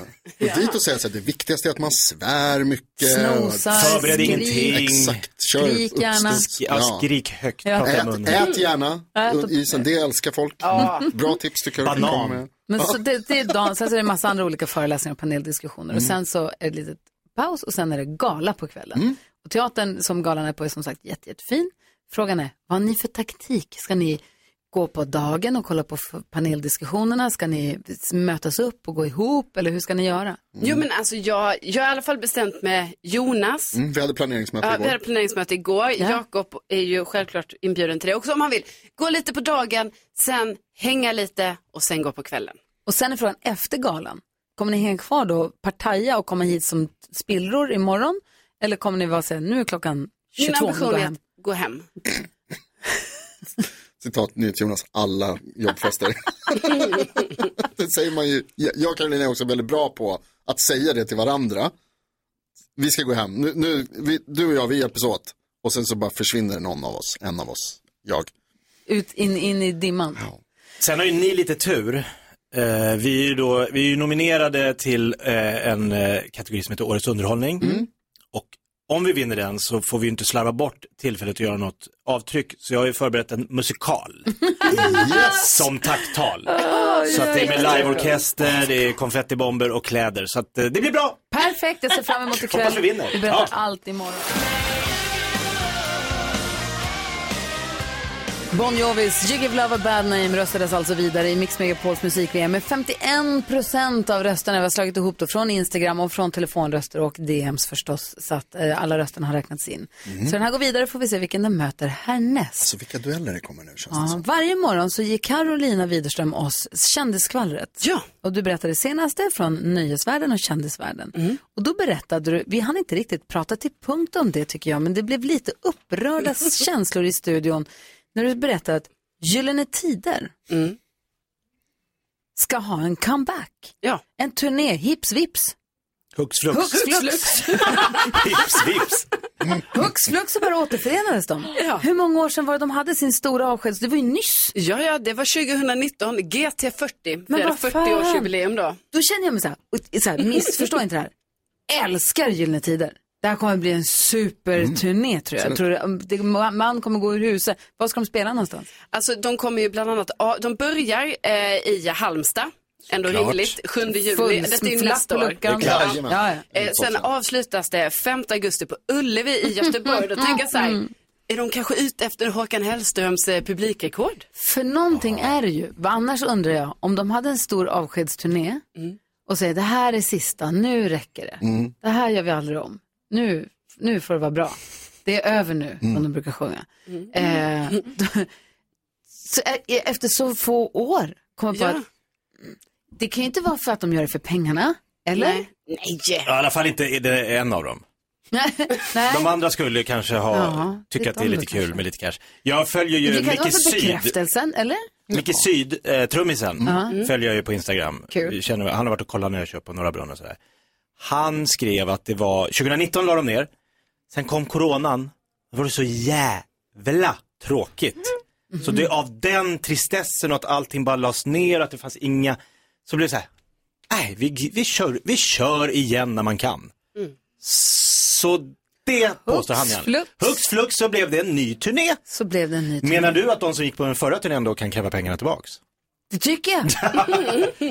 [SPEAKER 5] gå dit och säga så här, det viktigaste är att man svär mycket.
[SPEAKER 2] Snosar, Förbered skrik. ingenting.
[SPEAKER 5] Exakt, kör
[SPEAKER 2] Skrik gärna.
[SPEAKER 5] uppstuds.
[SPEAKER 7] Ja, skrik högt,
[SPEAKER 2] Ja.
[SPEAKER 7] prata i
[SPEAKER 5] Ät,
[SPEAKER 7] munnen.
[SPEAKER 5] ät gärna
[SPEAKER 2] Ät och-
[SPEAKER 5] isen, det älskar folk.
[SPEAKER 2] Ja.
[SPEAKER 5] Bra tips tycker jag.
[SPEAKER 7] Banan.
[SPEAKER 2] Men så
[SPEAKER 7] <laughs>
[SPEAKER 2] det, det är dagen, sen så är det en massa andra olika föreläsningar och paneldiskussioner. Och
[SPEAKER 5] Mm.
[SPEAKER 2] sen så är det ett litet paus och sen är det gala på kvällen.
[SPEAKER 7] Mm.
[SPEAKER 2] Och teatern som galan är på är som sagt jätte, jättefin. Frågan är, vad har ni för taktik? Ska ni gå på dagen och kolla på f- paneldiskussionerna? Ska ni s- mötas upp och gå ihop? Eller hur ska ni göra?
[SPEAKER 7] Mm.
[SPEAKER 4] Jo men alltså jag, jag har i alla fall bestämt med Jonas.
[SPEAKER 5] Mm, vi hade planeringsmöte
[SPEAKER 4] Ja, vi hade
[SPEAKER 5] igår.
[SPEAKER 4] planeringsmöte igår. Jakob är ju självklart inbjuden till det också om han vill. Gå lite på dagen, sen hänga lite och sen gå på kvällen.
[SPEAKER 2] Och sen är frågan efter galan. Kommer ni hänga kvar då, partaja och komma hit som spillror imorgon? Eller kommer ni vara så här, nu är klockan
[SPEAKER 4] Min
[SPEAKER 2] 22, nu
[SPEAKER 4] ambition
[SPEAKER 2] går
[SPEAKER 4] är
[SPEAKER 2] jag hem.
[SPEAKER 4] att gå hem.
[SPEAKER 5] Citat NyhetsJonas, alla
[SPEAKER 2] <laughs>
[SPEAKER 5] jobbfester. det säger man ju. Jag och Karolina är också väldigt bra på att säga det till varandra. Vi ska gå hem. Nu, nu, vi, du och jag, vi hjälps åt. Och sen så bara försvinner någon av oss, en av oss, jag.
[SPEAKER 2] Ut, in, in i dimman.
[SPEAKER 7] Sen har ju ni lite tur. Eh, vi, är ju då, vi är ju nominerade till eh, en eh, kategori som heter Årets underhållning. Och om vi vinner den så får vi ju inte slarva bort tillfället att göra något avtryck. Så jag har ju förberett en musikal. Som tacktal. så att det är med liveorkester, det är konfettibomber och kläder. Så att eh, det blir bra.
[SPEAKER 2] Perfekt, jag ser fram emot ikväll.
[SPEAKER 7] Hoppas vi vinner.
[SPEAKER 2] Vi berättar
[SPEAKER 7] Ja.
[SPEAKER 2] allt imorgon. Bon Jovis You Give Love a Bad Name röstades alltså vidare i Mix Megapols musik-VM med 51 procent av rösterna. Vi har slagit ihop då från Instagram och från telefonröster och DMs förstås. Så att eh, alla rösterna har räknats in.
[SPEAKER 5] Mm.
[SPEAKER 7] Mhm.
[SPEAKER 2] Så den här går vidare får vi se vilken den möter härnäst.
[SPEAKER 5] Alltså vilka dueller det kommer nu känns det
[SPEAKER 2] Ja,
[SPEAKER 5] som.
[SPEAKER 2] varje morgon så ger Carolina Widerström oss kändisskvallret. Ja. Och du berättade det senaste från nöjesvärlden och kändisvärlden. Och då berättade du, vi hann inte riktigt prata till punkt om det tycker jag, men det blev lite <laughs> upprörda känslor i studion när du berättade att Gyllene Tider ska ha en comeback. Ja. En turné, hips vips.
[SPEAKER 7] Hux
[SPEAKER 2] Hux flux.
[SPEAKER 7] Vips, vips.
[SPEAKER 2] Hux flux så bara återförenades de. Hur många år sedan var det de hade sin stora avskeds... Det var ju nyss.
[SPEAKER 4] Ja, ja, det var 2019, GT40.
[SPEAKER 2] Men
[SPEAKER 4] Vi hade
[SPEAKER 2] vad fan?
[SPEAKER 4] 40-årsjubileum då.
[SPEAKER 2] Då känner jag mig så här, och- så här missförstå inte det här. Älskar Gyllene Tider. Det här kommer bli en superturné tror jag. jag tror det, det, man kommer gå ur huset. Var ska de spela någonstans?
[SPEAKER 4] Alltså de kommer ju bland annat, ja, de börjar eh, i Halmstad. Ändå
[SPEAKER 2] Såklart.
[SPEAKER 4] rimligt, 7 juli.
[SPEAKER 2] Full-
[SPEAKER 4] Detta är ju
[SPEAKER 2] flest
[SPEAKER 4] nästa
[SPEAKER 2] på
[SPEAKER 4] år.
[SPEAKER 2] luckan. Det är klart, jajamän. Ja, ja.
[SPEAKER 4] Eh, sen avslutas det 5 augusti på Ullevi i Göteborg. Då tänker jag så här,
[SPEAKER 2] Mm.
[SPEAKER 4] är de kanske ute efter Håkan Hellströms eh, publikrekord?
[SPEAKER 2] För någonting är det ju. Vad Annars undrar jag, om de hade en stor avskedsturné
[SPEAKER 4] Mm.
[SPEAKER 2] och säger det här är sista, nu räcker det.
[SPEAKER 5] Mm.
[SPEAKER 2] Det här gör vi aldrig om. Nu, nu får det vara bra. Det är över nu,
[SPEAKER 7] Mm.
[SPEAKER 2] som de brukar sjunga. Eh, så, e- efter så få år kommer jag på
[SPEAKER 4] Ja.
[SPEAKER 2] att mm, det kan ju inte vara för att de gör det för pengarna, eller?
[SPEAKER 4] Nej. Nej.
[SPEAKER 7] I alla fall inte är det en av
[SPEAKER 2] <laughs>
[SPEAKER 7] dem. De andra skulle kanske ha,
[SPEAKER 2] Ja, lite
[SPEAKER 7] tycka att det är
[SPEAKER 2] andra
[SPEAKER 7] lite kul med lite cash. Jag följer
[SPEAKER 2] Det
[SPEAKER 7] ju
[SPEAKER 2] kan inte vara
[SPEAKER 7] Micke
[SPEAKER 2] för
[SPEAKER 7] Syd.
[SPEAKER 2] bekräftelsen, eller?
[SPEAKER 7] Micke Syd, eh, trummisen,
[SPEAKER 2] Mm.
[SPEAKER 7] följer jag ju på Instagram.
[SPEAKER 2] Kul.
[SPEAKER 7] Känner, han har varit och kollat när jag kör på Norra Brunn och sådär. Han skrev att det var, 2019 la de ner, sen kom coronan, då var det så jävla tråkigt. Så det av den tristessen och att allting bara lades ner, att det fanns inga, så blev det så här, nej vi, vi, kör, vi kör igen när man kan. Så det påstår han igen.
[SPEAKER 2] Mm. flux.
[SPEAKER 7] Hux flux så blev det en ny turné.
[SPEAKER 2] Så blev det en ny turné.
[SPEAKER 7] Menar du att de som gick på den förra turnén då kan kräva pengarna tillbaks?
[SPEAKER 2] Det tycker
[SPEAKER 7] <laughs>
[SPEAKER 2] jag.
[SPEAKER 7] Det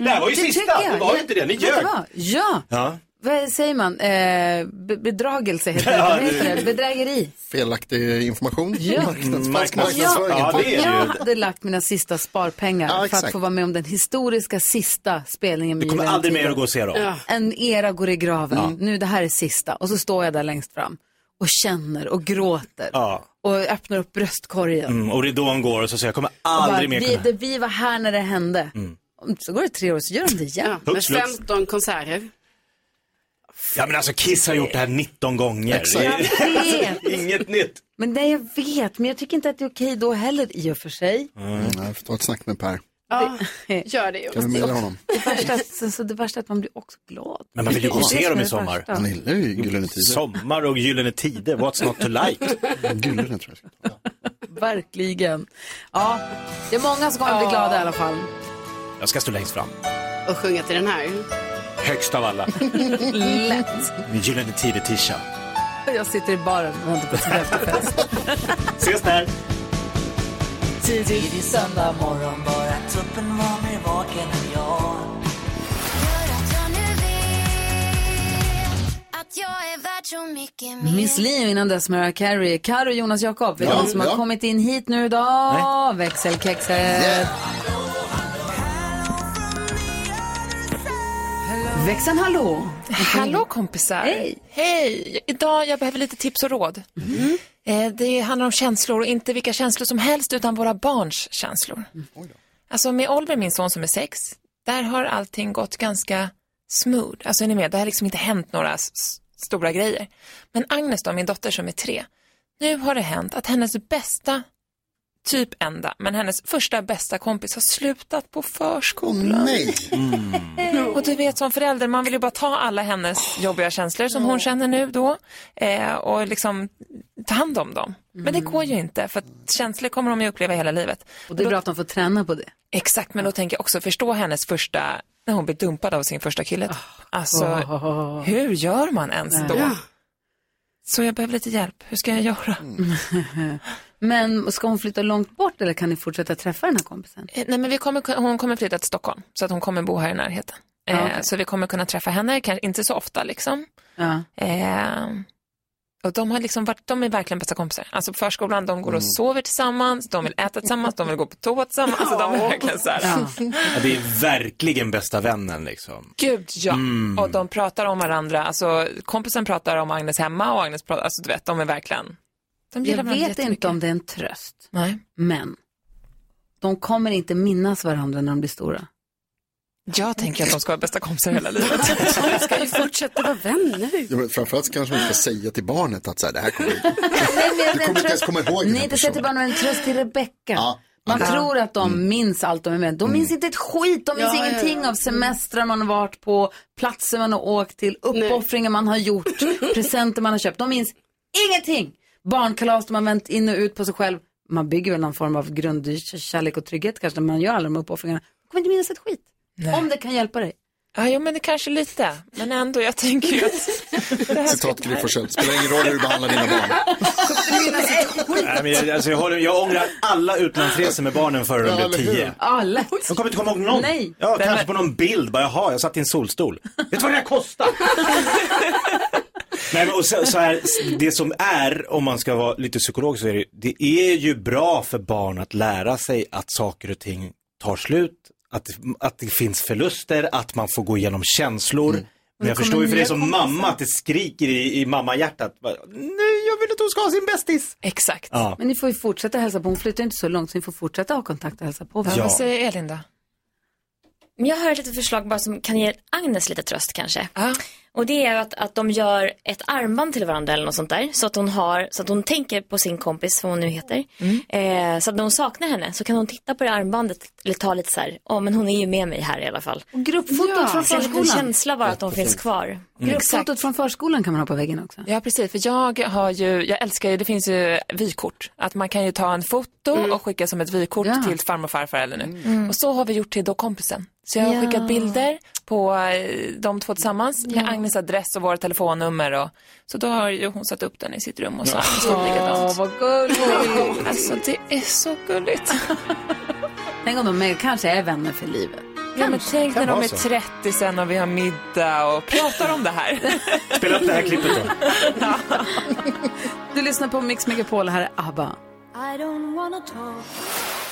[SPEAKER 7] här var ju sista.
[SPEAKER 2] tycker jag.
[SPEAKER 7] Det var ju inte det. Ni
[SPEAKER 2] Vet du
[SPEAKER 7] ljög.
[SPEAKER 2] vad? Ja,
[SPEAKER 7] Ja.
[SPEAKER 2] vad säger man? Eh, be- bedragelse heter det.
[SPEAKER 5] Ja,
[SPEAKER 2] Vad heter
[SPEAKER 5] det-
[SPEAKER 2] det. Bedrägeri.
[SPEAKER 5] Felaktig information.
[SPEAKER 2] Ja.
[SPEAKER 5] Marknads, falsk
[SPEAKER 7] Alltså,
[SPEAKER 2] Ja,
[SPEAKER 5] marknadsföring.
[SPEAKER 2] om jag hade lagt mina sista sparpengar
[SPEAKER 5] Ja,
[SPEAKER 2] för att
[SPEAKER 5] exakt.
[SPEAKER 2] få vara med om den historiska sista spelningen med
[SPEAKER 7] Du kommer
[SPEAKER 2] Gyllene
[SPEAKER 7] aldrig mer
[SPEAKER 2] Tider.
[SPEAKER 7] att gå och se dem. Ja.
[SPEAKER 2] En era går i graven.
[SPEAKER 7] Ja.
[SPEAKER 2] Nu det här är sista. Och så står jag där längst fram och känner och gråter
[SPEAKER 7] Ja.
[SPEAKER 2] och öppnar upp bröstkorgen.
[SPEAKER 7] Mm, och ridån går och så säger jag kommer
[SPEAKER 2] Och
[SPEAKER 7] aldrig
[SPEAKER 2] bara,
[SPEAKER 7] mer
[SPEAKER 2] vi,
[SPEAKER 7] kunna. Mm.
[SPEAKER 2] det, vi var här när det hände. Om- Så går det tre år så gör de det igen.
[SPEAKER 7] Ja, Hux med flux.
[SPEAKER 4] 15 konserter.
[SPEAKER 7] Ja men alltså Kiss har gjort det här 19 gånger.
[SPEAKER 2] Exakt.
[SPEAKER 7] Det är-
[SPEAKER 2] Jag vet.
[SPEAKER 7] Inget nytt.
[SPEAKER 2] Men nej, jag vet, men jag tycker inte att det är okej då heller i och för sig.
[SPEAKER 5] Mm. Jag får ta ett snack med Per.
[SPEAKER 4] Ja,
[SPEAKER 2] <laughs>
[SPEAKER 4] gör det.
[SPEAKER 5] Kan du mejla honom?
[SPEAKER 2] Det värsta, så, så det värsta är att man blir också glad.
[SPEAKER 7] Men man vill ju gå och
[SPEAKER 2] Det är
[SPEAKER 7] se
[SPEAKER 2] det
[SPEAKER 7] dem i
[SPEAKER 2] som är det
[SPEAKER 7] sommar.
[SPEAKER 2] värsta.
[SPEAKER 5] gillar ju <laughs> Gyllene Tider.
[SPEAKER 7] Sommar och Gyllene Tider, what's not to like?
[SPEAKER 5] <laughs> Gyllene tror jag.
[SPEAKER 2] Verkligen. Ja, det är många som kommer bli glada i alla fall.
[SPEAKER 7] Jag ska stå längst fram.
[SPEAKER 4] Och sjunga till den här.
[SPEAKER 7] Högst av alla.
[SPEAKER 2] <laughs> Lätt.
[SPEAKER 7] Min Gyllene Tider-tisha.
[SPEAKER 2] Jag sitter i baren och har inte gått till efterfest.
[SPEAKER 7] Ses där.
[SPEAKER 2] Tidig söndag morgon bara.
[SPEAKER 24] Tuppen var mer vaken än jag
[SPEAKER 22] Att jag är värd så mycket mer
[SPEAKER 2] Miss Li och innan dess Mariah Carey. Karo och Jonas Jakob, vet du
[SPEAKER 22] Ja,
[SPEAKER 2] vem som har
[SPEAKER 22] ja.
[SPEAKER 2] kommit in hit nu då? Växelkexet. Växeln hallå.
[SPEAKER 3] Hallå kompisar. Hej. Hej. Idag jag behöver lite tips och råd.
[SPEAKER 8] Mm.
[SPEAKER 3] Eh, Det handlar om känslor och inte vilka känslor som helst utan våra barns känslor. Alltså med Oliver, min son som är sex, där har allting gått ganska smooth. Alltså är ni med, det har liksom inte hänt några s- s- stora grejer. Men Agnes då, min dotter som är tre, nu har det hänt att hennes bästa, typ enda, men hennes första bästa kompis har slutat på förskolan.
[SPEAKER 23] nej.
[SPEAKER 3] Mm.
[SPEAKER 2] Mm.
[SPEAKER 3] Och du vet som förälder, man vill ju bara ta alla hennes jobbiga känslor som hon känner nu då eh, och liksom ta hand om dem. Men det går ju inte för att känslor kommer de ju uppleva hela livet.
[SPEAKER 2] Mm. Och det är bra att de får träna på det.
[SPEAKER 3] Exakt, men då tänker jag också förstå hennes första, när hon blir dumpad av sin första kille. Alltså,
[SPEAKER 2] Oh.
[SPEAKER 3] hur gör man ens då?
[SPEAKER 2] Ah. Ja.
[SPEAKER 3] Så jag behöver lite hjälp, hur ska jag göra?
[SPEAKER 2] Mm. <laughs> Men ska hon flytta långt bort eller kan ni fortsätta träffa den här kompisen?
[SPEAKER 3] Eh, Nej, men vi kommer, hon kommer flytta till Stockholm, så att hon kommer bo här i närheten.
[SPEAKER 2] Ja,
[SPEAKER 3] Eh,
[SPEAKER 2] okej.
[SPEAKER 3] Så vi kommer kunna träffa henne, kan- inte så ofta liksom.
[SPEAKER 2] Ja.
[SPEAKER 3] Eh, Och de, har liksom varit, de är verkligen bästa kompisar. Alltså på förskolan, de går och sover tillsammans, de vill äta tillsammans, de vill gå på toa tillsammans. Alltså de är verkligen så här.
[SPEAKER 7] Ja, det är verkligen bästa vännen liksom.
[SPEAKER 3] Gud ja.
[SPEAKER 7] Mm.
[SPEAKER 3] Och de pratar om varandra. Alltså kompisen pratar om Agnes hemma och Agnes pratar, alltså du vet, de är verkligen. De gillar
[SPEAKER 2] jag
[SPEAKER 3] varandra
[SPEAKER 2] vet inte om det är en tröst.
[SPEAKER 3] Nej.
[SPEAKER 2] Men de kommer inte minnas varandra när de blir stora.
[SPEAKER 3] Jag tänker att de ska vara bästa kompisar hela livet.
[SPEAKER 2] de ska ju fortsätta vara vänner.
[SPEAKER 5] Ja, men framförallt kanske man inte ska säga till barnet att så här, det här kommer
[SPEAKER 2] Du
[SPEAKER 5] kommer inte ens komma ihåg den här
[SPEAKER 2] Nej, inte säga till
[SPEAKER 5] personen.
[SPEAKER 2] barnen, men en tröst till Rebecka. Man
[SPEAKER 5] Ja.
[SPEAKER 2] tror att de minns allt de är med
[SPEAKER 4] Mm.
[SPEAKER 2] De minns inte ett skit, de minns
[SPEAKER 15] Ja, ja, ja.
[SPEAKER 2] ingenting av semestrar man har varit på, platser man har åkt till, uppoffringar man har <laughs> gjort, presenter man har köpt. De minns ingenting. Barnkalas de har vänt in och ut på sig själv. Man bygger väl någon form av grundkärlek och trygghet kanske när man gör alla de här uppoffringarna. Man kommer inte minnas ett skit. Om det kan hjälpa dig.
[SPEAKER 3] Ja, jo, men det kanske lite. Men ändå, jag tänker ju
[SPEAKER 2] <laughs>
[SPEAKER 3] att...
[SPEAKER 5] Citat Gry Forssell. Spelar ingen roll hur du behandlar dina barn.
[SPEAKER 7] Nej, men jag, alltså, jag, håller, jag ångrar alla utlandsresor med barnen före de
[SPEAKER 5] Ja,
[SPEAKER 7] blev
[SPEAKER 5] eller hur?
[SPEAKER 7] tio.
[SPEAKER 2] Ja, lätt.
[SPEAKER 7] De kommer inte komma ihåg någon.
[SPEAKER 2] Nej.
[SPEAKER 7] Ja, kanske på någon bild. Bara, jaha, jag satt i en solstol. Vet du vad det här kostar? Nej, men och så, så här, det som är, om man ska vara lite psykolog, så är det, det är ju bra för barn att lära sig att saker och ting tar slut, att, att det finns förluster, att man får gå igenom känslor. Men jag
[SPEAKER 16] kommer
[SPEAKER 7] förstår ju för det
[SPEAKER 16] nya
[SPEAKER 7] som
[SPEAKER 16] kompisar.
[SPEAKER 7] mamma att det skriker i, i mammahjärtat. Bara, Nej, jag vill att hon ska ha sin bästis.
[SPEAKER 3] Exakt.
[SPEAKER 7] Ja.
[SPEAKER 2] Men ni får ju fortsätta hälsa på. Hon flyttar ju inte så långt så ni får fortsätta ha kontakt och hälsa på.
[SPEAKER 3] Vad säger Elin då?
[SPEAKER 9] Men jag har ett litet förslag bara som kan ge Agnes lite tröst kanske. Och det är att, att de gör ett armband till varandra eller något sånt där. Så att hon, har, så att hon tänker på sin kompis, vad hon nu heter.
[SPEAKER 3] Mm.
[SPEAKER 9] Eh, så att när hon saknar henne så kan hon titta på det armbandet eller ta lite så här, ja men hon är ju med mig här i alla fall.
[SPEAKER 2] Och gruppfotot från
[SPEAKER 9] Så en liten
[SPEAKER 2] förskolan.
[SPEAKER 9] känsla bara att de finns kvar.
[SPEAKER 2] Mm.
[SPEAKER 15] Mm.
[SPEAKER 2] Gruppfotot från förskolan kan man ha på väggen också.
[SPEAKER 3] Ja, precis. För jag har ju, jag älskar ju, det finns ju vykort. Att man kan ju ta en foto och skicka som ett vykort till farmor och farfar eller nu.
[SPEAKER 9] Mm.
[SPEAKER 3] Och så har vi gjort till då kompisen. Så jag har
[SPEAKER 9] Ja.
[SPEAKER 3] skickat bilder på eh, de två tillsammans med
[SPEAKER 9] Ja.
[SPEAKER 3] Agnes adress och våra telefonnummer. Och, så då har ju hon satt upp den i sitt rum och så har Agnes gjort
[SPEAKER 2] Åh,
[SPEAKER 3] likadant.
[SPEAKER 2] vad
[SPEAKER 3] <laughs>
[SPEAKER 2] gulligt.
[SPEAKER 3] Alltså det är så gulligt.
[SPEAKER 2] Tänk om de är, kanske är vänner för livet.
[SPEAKER 3] Ja, men tänk
[SPEAKER 2] Kan
[SPEAKER 3] när de
[SPEAKER 2] vara
[SPEAKER 3] är
[SPEAKER 2] så.
[SPEAKER 3] 30 sen och vi har middag och pratar om det här.
[SPEAKER 7] Spela upp det här klippet då.
[SPEAKER 2] Du lyssnar på Mix Megapol, här är ABBA.
[SPEAKER 22] I don't wanna talk.